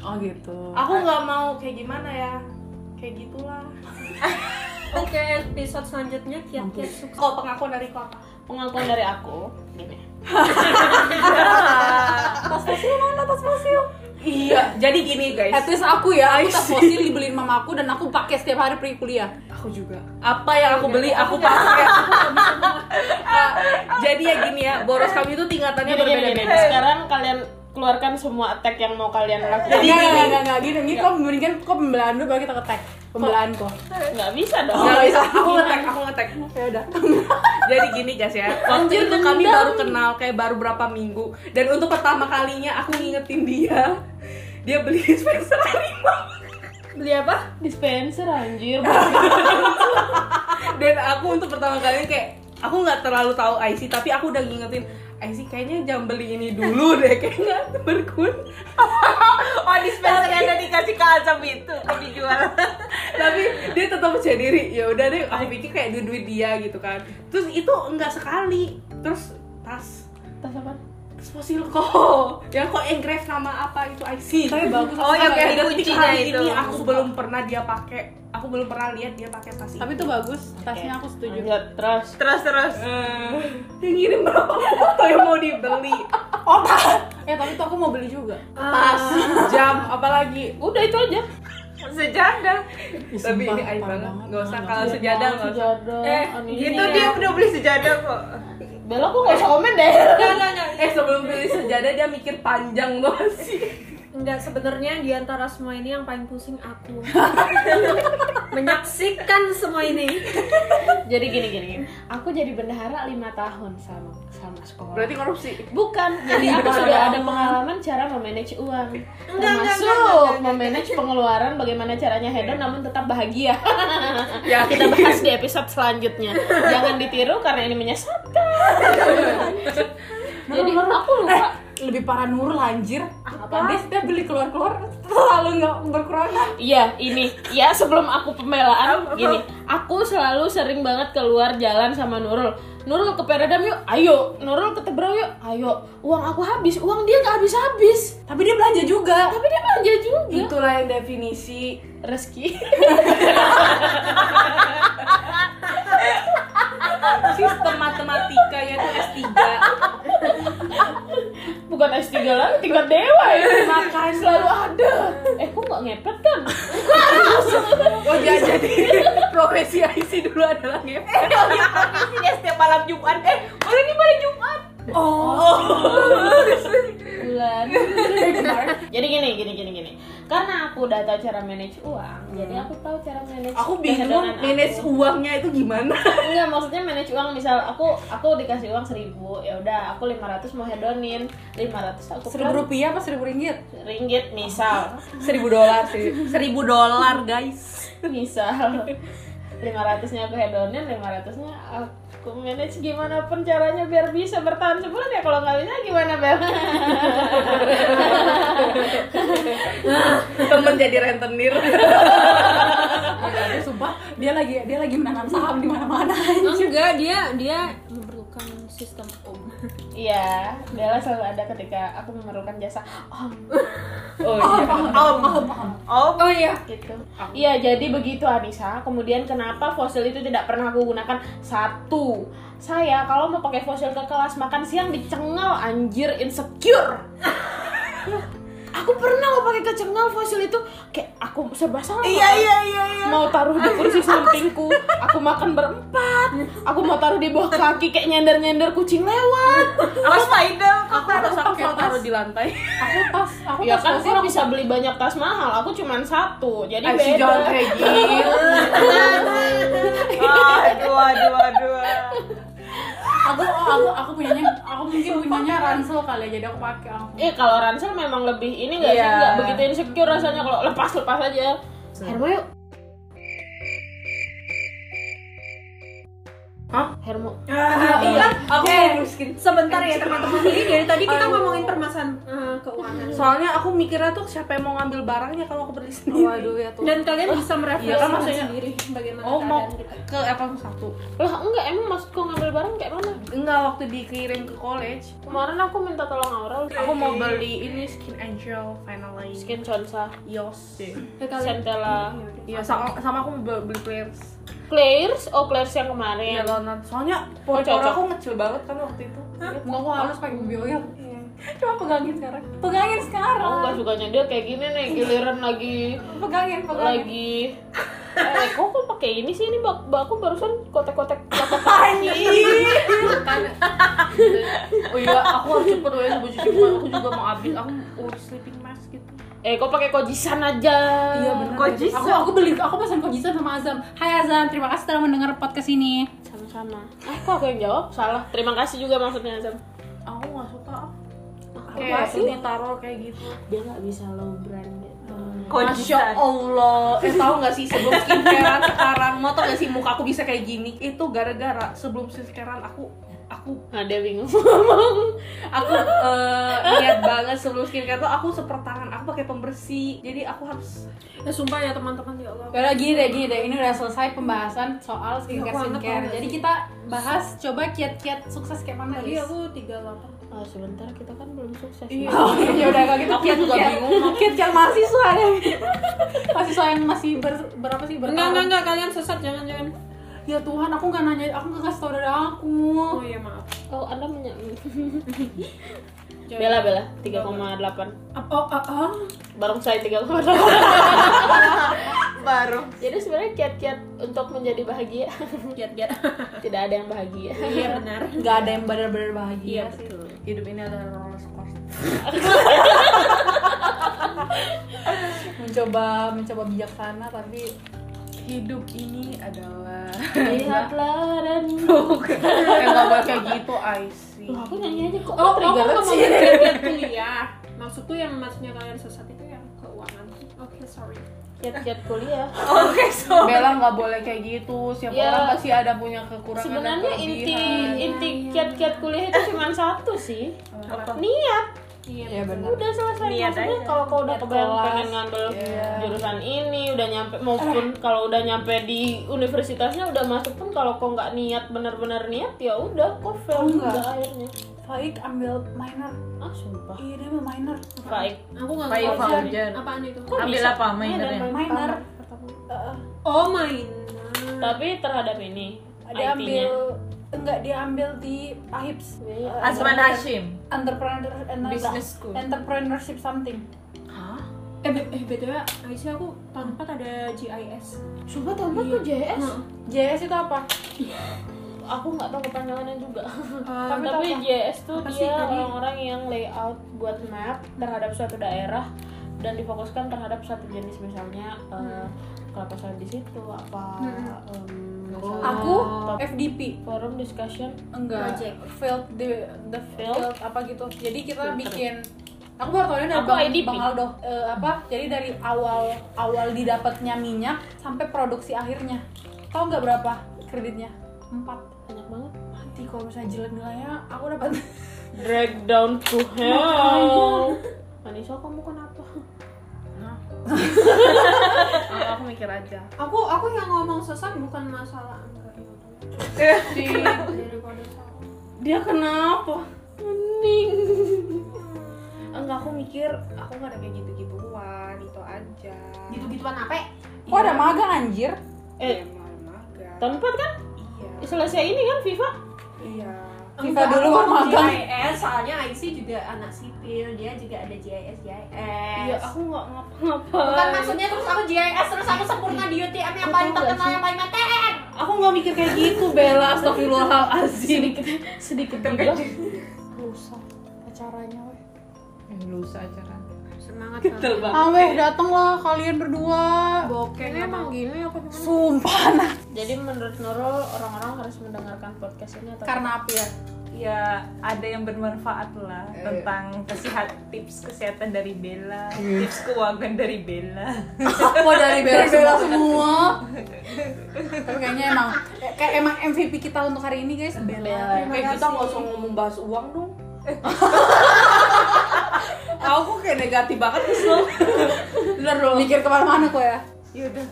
[SPEAKER 3] Oh gitu.
[SPEAKER 7] aku nggak mau kayak gimana ya kayak gitulah
[SPEAKER 6] Oke, episode selanjutnya kiat-kiat suka.
[SPEAKER 7] kalau pengakuan dari kau apa?
[SPEAKER 1] pengakuan dari aku gini
[SPEAKER 3] tas fosil mana tas fosil?
[SPEAKER 7] iya jadi gini guys
[SPEAKER 3] At least aku ya, aku tas fosil dibeliin mama aku dan aku pakai setiap hari pergi kuliah.
[SPEAKER 7] aku juga apa yang aku beli aku pakai Ah, jadi ya gini ya boros kami itu tingkatannya
[SPEAKER 1] Gini, gini, gini.
[SPEAKER 7] berbeda-beda
[SPEAKER 1] sekarang kalian keluarkan semua attack yang mau kalian lakukan
[SPEAKER 7] Jadi
[SPEAKER 3] Nggak,
[SPEAKER 7] gini.
[SPEAKER 3] nggak, nggak, nggak, gini, gini kok mendingan kok pembelaan dulu baru kita ketek pembelaan kok.
[SPEAKER 1] nggak bisa dong
[SPEAKER 7] Nggak bisa aku ngetek aku ngetek ya udah jadi gini guys ya waktu itu kami baru kenal kayak baru berapa minggu dan untuk pertama kalinya aku ngingetin dia dia beli <laughs> dispenser harimau
[SPEAKER 6] Beli apa?
[SPEAKER 1] dispenser anjir
[SPEAKER 7] dan aku untuk pertama kalinya kayak aku nggak terlalu tahu IC tapi aku udah ngingetin IC kayaknya jangan beli ini
[SPEAKER 1] <laughs>
[SPEAKER 7] dulu deh kayaknya berkun
[SPEAKER 6] Oh, dispenser yang tadi kasih ke Azam itu, kok dijual.
[SPEAKER 7] tapi dia tetap percaya diri ya udah deh aku pikir kayak duit duit dia gitu kan terus itu enggak sekali terus tas
[SPEAKER 1] tas apa
[SPEAKER 7] tas fosil kok yang kok engrave nama apa itu IC
[SPEAKER 3] Tapi bagus.
[SPEAKER 6] Oh, yang
[SPEAKER 7] Sampai
[SPEAKER 6] ada
[SPEAKER 7] detik
[SPEAKER 6] kuncinya
[SPEAKER 7] hari
[SPEAKER 6] itu.
[SPEAKER 7] ini aku belum pernah dia pakai aku belum pernah lihat dia pakai tas itu
[SPEAKER 3] Tapi itu bagus, tasnya aku setuju.
[SPEAKER 1] lanjut terus
[SPEAKER 6] Terus terus.
[SPEAKER 7] Eh, dia ngirim berapa foto yang mau dibeli
[SPEAKER 3] Eh tapi tuh aku mau beli juga.
[SPEAKER 6] Ah,
[SPEAKER 7] tas jam apalagi
[SPEAKER 1] Eh, udah itu aja
[SPEAKER 7] sejadah tapi
[SPEAKER 3] sumpah,
[SPEAKER 7] ini aib
[SPEAKER 3] parah
[SPEAKER 7] banget
[SPEAKER 3] banget.
[SPEAKER 7] nggak usah kalau sejadah nggak usah
[SPEAKER 1] sejadah Iya.
[SPEAKER 6] Eh,
[SPEAKER 7] Iya.
[SPEAKER 2] gitu,
[SPEAKER 6] itu dia udah beli sejadah kok.
[SPEAKER 1] Bella kok gak usah komen deh
[SPEAKER 7] eh sebelum beli sejadah dia mikir panjang loh sih
[SPEAKER 6] Enggak, sebenarnya di antara semua ini yang paling pusing aku. <laughs> Menyaksikan semua ini.
[SPEAKER 1] <laughs> jadi gini gini gini. aku jadi bendahara lima tahun sama sama sekolah
[SPEAKER 7] berarti korupsi
[SPEAKER 1] bukan jadi aku sudah ada pengalaman cara memanage uang termasuk memanage pengeluaran bagaimana caranya hedon namun tetap bahagia <laughs>
[SPEAKER 7] ya <laughs>
[SPEAKER 1] kita bahas di episode selanjutnya jangan ditiru karena ini menyesatkan
[SPEAKER 3] Jadi aku
[SPEAKER 7] eh.
[SPEAKER 3] lupa. lebih parah Nurul anjir. Apa? Dia setiap beli keluar-keluar selalu nggak berkurang.
[SPEAKER 1] Iya, ini. Ya, sebelum aku pembelaan gini. Aku selalu sering banget keluar jalan sama Nurul. Nurul ke Peradam yuk, ayo. Nurul ke Tebrau yuk, ayo. Uang aku habis, uang dia nggak habis-habis.
[SPEAKER 3] Tapi dia belanja juga.
[SPEAKER 1] Tapi dia belanja juga.
[SPEAKER 7] Itulah yang definisi
[SPEAKER 1] Reski.
[SPEAKER 7] <laughs> sistem matematika ya, yaitu S3.
[SPEAKER 1] Bukan S3 lagi, tingkat dewa ya.
[SPEAKER 7] Makanya
[SPEAKER 1] Selalu ada. Eh, kok nggak ngepet kan?
[SPEAKER 7] Oh jadi, jadi profesi IC dulu adalah ngepet. Eh, profesi dia setiap malam Jumat. Eh, udah nih malam Jumat.
[SPEAKER 1] bulan <laughs> jadi gini gini gini gini karena aku udah tahu cara manage uang jadi aku tahu cara manage
[SPEAKER 7] Aku bingung
[SPEAKER 1] kehedonan
[SPEAKER 7] manage
[SPEAKER 1] aku.
[SPEAKER 7] uangnya itu gimana.
[SPEAKER 1] enggak maksudnya manage uang misal aku aku dikasih uang seribu ya udah aku 500 mau hedonin 500 aku
[SPEAKER 3] Seribu
[SPEAKER 1] pelan-
[SPEAKER 3] rupiah apa seribu ringgit?
[SPEAKER 1] ringgit misal
[SPEAKER 7] Seribu dolar sih. Seribu dolar guys.
[SPEAKER 1] misal 500 nya aku hedonin 500 nya aku manage gimana pun caranya biar bisa bertahan sebulan ya kalau nggak bisa gimana Bel? <laughs>
[SPEAKER 7] Temen jadi rentenir.
[SPEAKER 3] Dia Ya, sumpah dia lagi dia lagi menanam saham di mana-mana.
[SPEAKER 6] enggak dia dia memerlukan sistem om
[SPEAKER 1] <laughs> Iya, Bella selalu ada ketika aku memerlukan jasa oh,
[SPEAKER 7] Oh iya.
[SPEAKER 6] oh iya
[SPEAKER 1] gitu. Iya, jadi begitu Anissa. Kemudian kenapa fosil itu tidak pernah aku gunakan? Satu, saya kalau mau pakai fosil ke kelas makan siang dicengel anjir
[SPEAKER 6] <laughs>
[SPEAKER 1] insecure. aku pernah mau pakai kecengel fosil itu kayak aku serba salah.
[SPEAKER 6] iya iya iya iya
[SPEAKER 1] Mau taruh di
[SPEAKER 6] <laughs>
[SPEAKER 1] kursi sampingku, aku makan berempat. Aku mau taruh di bawah kaki kayak nyender-nyender kucing lewat.
[SPEAKER 6] aku spider
[SPEAKER 7] Aku harus aku selalu taruh di lantai.
[SPEAKER 3] Aku pas aku
[SPEAKER 1] Ya
[SPEAKER 3] pas
[SPEAKER 1] kan
[SPEAKER 3] posisi-
[SPEAKER 1] kok bisa beli banyak tas mahal, aku cuman satu. Jadi
[SPEAKER 7] Asyik
[SPEAKER 1] beda.
[SPEAKER 7] jangan kayak gitu.
[SPEAKER 6] aduh aduh aduh
[SPEAKER 3] aku oh, aku aku punyanya aku mungkin punyanya ransel kali ya, jadi aku pakai aku
[SPEAKER 1] Eh kalau ransel memang lebih ini enggak sih
[SPEAKER 7] Iya.
[SPEAKER 1] enggak begitu insecure rasanya kalau lepas-lepas aja. Hermo yuk. Hah? Hermo.
[SPEAKER 7] Iya. Aku miskin.
[SPEAKER 6] Eh, sebentar ya teman-teman ini dari tadi kita ngomongin permasalahan eh, keuangan
[SPEAKER 7] Soalnya aku mikirnya tuh siapa yang mau ngambil barangnya kalau aku beli sendiri.
[SPEAKER 3] waduh ya tuh
[SPEAKER 6] dan kalian bisa
[SPEAKER 7] Iya kan,
[SPEAKER 6] merefleksikan
[SPEAKER 7] maksudnya-
[SPEAKER 6] sendiri bagaimana
[SPEAKER 7] Oh mau
[SPEAKER 6] keadaan kita
[SPEAKER 7] ke Evan satu.
[SPEAKER 1] Lah enggak emang maksudku ngambil barang kayak mana?
[SPEAKER 7] Enggak waktu dikirim ke college.
[SPEAKER 1] Kemarin aku minta tolong Aurel
[SPEAKER 7] Aku mau beli ini skin angel finally.
[SPEAKER 1] skin consa,
[SPEAKER 7] Yos.
[SPEAKER 6] Eh, kalian
[SPEAKER 1] centella,
[SPEAKER 7] Iya, sama, sama aku mau beli players.
[SPEAKER 1] Claire's, oh Claire's yang
[SPEAKER 7] Iya,
[SPEAKER 1] kemarin.
[SPEAKER 7] Leonard. Soalnya
[SPEAKER 1] Oh,
[SPEAKER 7] pokoknya
[SPEAKER 1] cocok.
[SPEAKER 7] aku ngecil banget kan waktu itu.
[SPEAKER 3] nggak aku harus pakai baby oil
[SPEAKER 7] Iya.
[SPEAKER 3] cuma pegangin sekarang pegangin sekarang
[SPEAKER 1] Aku nggak sukanya dia kayak gini nih, giliran lagi
[SPEAKER 3] pegangin pegangin
[SPEAKER 1] lagi eh kok kok pakai ini sih ini bak baku barusan kotek-kotek kotak <laughs> kaki
[SPEAKER 7] kan.
[SPEAKER 3] <laughs>
[SPEAKER 7] Oh iya, aku harus cepet ya sebelum cuci muka. Aku juga mau habis. Aku urus sleeping mask gitu.
[SPEAKER 1] eh kok pakai kojisan aja
[SPEAKER 3] Iya benar.
[SPEAKER 6] Kojisa.
[SPEAKER 3] Aku aku beli aku pesan kojisan sama Azam. Hai Azam, terima kasih telah mendengar podcast ini.
[SPEAKER 1] sama-sama eh kok aku yang jawab salah terima kasih juga maksudnya Azam
[SPEAKER 7] Aku nggak suka. ah.
[SPEAKER 1] Apa
[SPEAKER 7] Kayak
[SPEAKER 1] sih?
[SPEAKER 7] ini taro kayak gitu.
[SPEAKER 1] dia nggak bisa low brand gitu
[SPEAKER 7] Masya Allah, eh tahu nggak sih sebelum skincarean sekarang, mau tau nggak sih muka aku bisa kayak gini? Itu gara-gara sebelum skincarean aku aku
[SPEAKER 1] nah dia <laughs> bingung ngomong
[SPEAKER 7] aku
[SPEAKER 6] <laughs>
[SPEAKER 7] eh, niat banget sebelum skincare tuh aku sepertangan aku pakai pembersih jadi aku harus
[SPEAKER 6] ya sumpah ya teman-teman ya Allah
[SPEAKER 3] Yaudah gini deh, gini deh. Ini udah selesai
[SPEAKER 7] Iya,
[SPEAKER 3] pembahasan soal skincare
[SPEAKER 6] Aku anget
[SPEAKER 3] skincare.
[SPEAKER 6] banget.
[SPEAKER 3] Jadi kita bahas coba kiat-kiat sukses kayak mana
[SPEAKER 6] tadi
[SPEAKER 7] Iya,
[SPEAKER 3] Lis?
[SPEAKER 6] aku tiga delapan
[SPEAKER 1] Ah, sebentar kita kan belum sukses
[SPEAKER 3] Oh, ya udah kalau gitu
[SPEAKER 7] Aku juga
[SPEAKER 3] kiat-kiat.
[SPEAKER 7] bingung.
[SPEAKER 3] Kiat-kiat mahasiswa
[SPEAKER 7] ya.
[SPEAKER 3] deh. mahasiswa yang masih ber- berapa sih? Bertahun.
[SPEAKER 6] enggak enggak enggak kalian sesat jangan jangan
[SPEAKER 3] Ya Tuhan, aku nggak nanya, aku nggak kasih tau dari aku.
[SPEAKER 6] oh iya maaf
[SPEAKER 1] oh anda punya <laughs> Bella Bella 3,8
[SPEAKER 3] Apa? Oh, ah, ah.
[SPEAKER 1] bareng saya 3,8
[SPEAKER 5] baru
[SPEAKER 1] <laughs> jadi sebenarnya kiat-kiat untuk menjadi bahagia <laughs>
[SPEAKER 6] giat-giat <laughs>
[SPEAKER 1] tidak ada yang bahagia
[SPEAKER 6] iya benar
[SPEAKER 3] Nggak ada yang benar-benar
[SPEAKER 7] Iya,
[SPEAKER 3] bahagia
[SPEAKER 6] Iya,
[SPEAKER 3] sih.
[SPEAKER 7] hidup ini adalah roller <laughs> coaster
[SPEAKER 3] Mencoba mencoba bijaksana tapi
[SPEAKER 7] hidup ini adalah
[SPEAKER 1] Iya.
[SPEAKER 7] Iya.
[SPEAKER 1] lihatlah dan
[SPEAKER 7] <laughs> eh nggak boleh kayak gitu Ice
[SPEAKER 1] Loh, aku nyanyi aja kok
[SPEAKER 3] Oh,
[SPEAKER 1] trigger
[SPEAKER 3] aku
[SPEAKER 1] banget
[SPEAKER 6] <laughs>
[SPEAKER 3] ngomong
[SPEAKER 1] sih.
[SPEAKER 6] Giat-giat kuliah maksudku yang maksudnya kalian sesat itu yang keuangan oh Oke, sorry.
[SPEAKER 1] kiat-kiat kuliah
[SPEAKER 7] Bella nggak boleh kayak gitu. Siapa
[SPEAKER 1] Ya.
[SPEAKER 7] orang pasti ada punya kekurangan. dan
[SPEAKER 1] sebenarnya inti
[SPEAKER 7] kelebihan. Iya,
[SPEAKER 1] inti kiat-kiat kuliah itu cuma satu sih niat
[SPEAKER 3] Iya benar.
[SPEAKER 1] udah selesai
[SPEAKER 2] Niat
[SPEAKER 1] maksudnya
[SPEAKER 2] aja.
[SPEAKER 1] kalau kau udah kebayang
[SPEAKER 3] kelas.
[SPEAKER 1] pengen ngambil jurusan ini udah nyampe maupun kalau udah nyampe di universitasnya udah masuk pun kalau kau nggak niat benar-benar niat ya udah kau fail
[SPEAKER 3] Enggak.
[SPEAKER 1] juga akhirnya
[SPEAKER 3] Faik ambil minor.
[SPEAKER 1] ah sumpah
[SPEAKER 3] Iya dia ambil minor.
[SPEAKER 1] baik Iya,
[SPEAKER 6] Aku nggak
[SPEAKER 2] Pak
[SPEAKER 6] ngerti.
[SPEAKER 2] Faujan.
[SPEAKER 6] Apaan itu?
[SPEAKER 2] Ambil
[SPEAKER 1] bisa?
[SPEAKER 2] apa mainannya?
[SPEAKER 1] Ada
[SPEAKER 3] Minor.
[SPEAKER 6] Oh, main.
[SPEAKER 1] tapi terhadap ini
[SPEAKER 3] Dia ambil
[SPEAKER 1] IT-nya
[SPEAKER 3] enggak dia ambil di AHIPS. Eh,
[SPEAKER 2] Asman
[SPEAKER 3] entrepreneur-
[SPEAKER 2] Hashim.
[SPEAKER 3] Entrepreneur entrepreneur-
[SPEAKER 2] Business school.
[SPEAKER 3] Entrepreneurship something.
[SPEAKER 6] Eh, be- eh btw, Aisyah aku tahun 4 ada GIS.
[SPEAKER 1] coba tahun depan kok JS
[SPEAKER 3] JS itu apa?
[SPEAKER 1] Nah, aku nggak tahu kepanjangannya juga <laughs>
[SPEAKER 6] Eh,
[SPEAKER 1] tapi,
[SPEAKER 3] tapi
[SPEAKER 1] JS tuh
[SPEAKER 6] Apa sih
[SPEAKER 1] dia
[SPEAKER 6] tadi?
[SPEAKER 1] orang-orang yang layout buat map terhadap suatu daerah dan difokuskan terhadap satu jenis misalnya eh, kelapa sawit di situ apa em, misalnya
[SPEAKER 3] Aku
[SPEAKER 1] top
[SPEAKER 3] FDP.
[SPEAKER 1] forum discussion
[SPEAKER 3] Enggak.
[SPEAKER 6] Project.
[SPEAKER 3] Field the the
[SPEAKER 1] Field.
[SPEAKER 3] field, apa gitu. Jadi kita bikin Aku baru tahu ini dari
[SPEAKER 1] Aku
[SPEAKER 3] Bang,
[SPEAKER 1] IDP.
[SPEAKER 3] Bang Aldo Eh, apa? Jadi dari awal awal didapatnya minyak sampai produksi akhirnya. Tahu nggak berapa kreditnya? Empat.
[SPEAKER 1] banyak banget
[SPEAKER 3] Mati kalau misalnya jelek nilainya, aku <laughs> dapat
[SPEAKER 1] drag down to Nah, hell Anissa iya. Kan kamu kenapa?
[SPEAKER 7] Aku- aku mikir aja.
[SPEAKER 6] Aku aku yang ngomong sesat bukan masalah angka ya. Daripada salah.
[SPEAKER 7] Dia kenapa?
[SPEAKER 2] Enggak, aku mikir aku nggak ada kayak gitu-gituan, itu aja.
[SPEAKER 6] Gitu-gituan apa?
[SPEAKER 3] Kok ada magang anjir?
[SPEAKER 1] Eh,
[SPEAKER 2] Maga.
[SPEAKER 1] tahun empat kan?
[SPEAKER 2] Iya.
[SPEAKER 1] Selesai ini kan FIFA?
[SPEAKER 2] Iya.
[SPEAKER 3] Kita dulu kan magang.
[SPEAKER 6] GIS, soalnya Aisyah juga anak sipil, dia juga ada GIS, GIS.
[SPEAKER 2] Iya, aku nggak ngapa-ngapa.
[SPEAKER 6] Bukan maksudnya terus aku GIS terus aku sempurna di UTM yang paling terkenal yang paling ATM.
[SPEAKER 7] Aku nggak mikir kayak gitu Bella. Astagfirullahalazim.
[SPEAKER 1] Sedikit juga
[SPEAKER 3] Rusak acaranya weh.
[SPEAKER 2] Lusa acara.
[SPEAKER 6] Semangat
[SPEAKER 3] Ameh dateng lah kalian berdua.
[SPEAKER 6] Bokeh emang gini aku
[SPEAKER 3] Sumpah <laughs> nah.
[SPEAKER 1] Jadi menurut Nurul, orang-orang harus mendengarkan podcast ini atau
[SPEAKER 3] Karena apa ya?
[SPEAKER 2] Ya, ada yang bermanfaat lah
[SPEAKER 7] Eh.
[SPEAKER 2] tentang kesihat tips kesehatan dari Bella,
[SPEAKER 7] Eh.
[SPEAKER 2] tips keuangan dari Bella. <laughs>
[SPEAKER 3] Apa dari bela semua? Tapi kayaknya emang kayak emang MVP kita untuk hari ini guys Bella.
[SPEAKER 7] Kayak Eh, kita nggak usah ngomong bahas uang
[SPEAKER 3] <laughs>
[SPEAKER 7] dong. aku kayak negatif banget kesel.
[SPEAKER 3] Bener dong. Mikir kemana-mana kok ya.
[SPEAKER 2] Yaudah.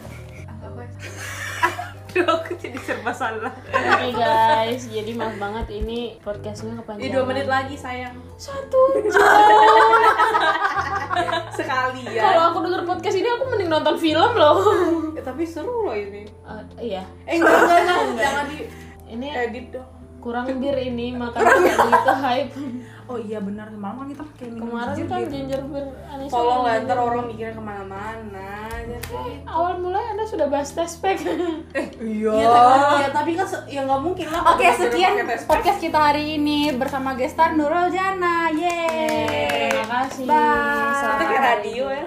[SPEAKER 2] Aduh, aku jadi serba salah.
[SPEAKER 1] Oke guys, jadi maaf banget ini podcastnya
[SPEAKER 3] Iya,
[SPEAKER 1] kepanjangan.
[SPEAKER 7] Di dua menit lagi sayang. Satu jam. Sekali ya.
[SPEAKER 1] Kalau aku denger podcast ini aku mending nonton film loh.
[SPEAKER 7] Eh, tapi seru loh ini.
[SPEAKER 1] Eh, iya,
[SPEAKER 7] Eh enggak enggak enggak, jangan di
[SPEAKER 1] ini
[SPEAKER 7] edit dong.
[SPEAKER 1] kurang bir ini makanya begitu hype.
[SPEAKER 3] Oh iya benar semalam kan kita pakai minum
[SPEAKER 1] Kemarin
[SPEAKER 3] ginger
[SPEAKER 1] kan
[SPEAKER 3] gitu.
[SPEAKER 1] ginger beer Anissa.
[SPEAKER 7] Tolong
[SPEAKER 1] ngomong
[SPEAKER 7] lah ntar
[SPEAKER 1] gitu.
[SPEAKER 7] orang mikirnya kemana-mana.
[SPEAKER 1] Eh, Awal mulai Anda sudah bahas test pack.
[SPEAKER 7] Iya. tapi- Ya, tapi kan se- ya nggak mungkin lah.
[SPEAKER 3] Oke
[SPEAKER 7] kalau
[SPEAKER 3] sekian
[SPEAKER 7] pakai tes-
[SPEAKER 3] podcast kita hari ini bersama gestar Nurul Jana.
[SPEAKER 7] Eh.
[SPEAKER 3] Yeay.
[SPEAKER 1] Terima kasih.
[SPEAKER 3] Bye.
[SPEAKER 1] Sampai
[SPEAKER 7] Kita kayak radio ya.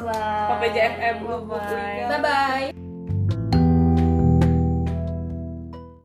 [SPEAKER 1] Bye.
[SPEAKER 7] Sampai JFM.
[SPEAKER 1] Bye.
[SPEAKER 7] Bye-bye.
[SPEAKER 6] Bye bye.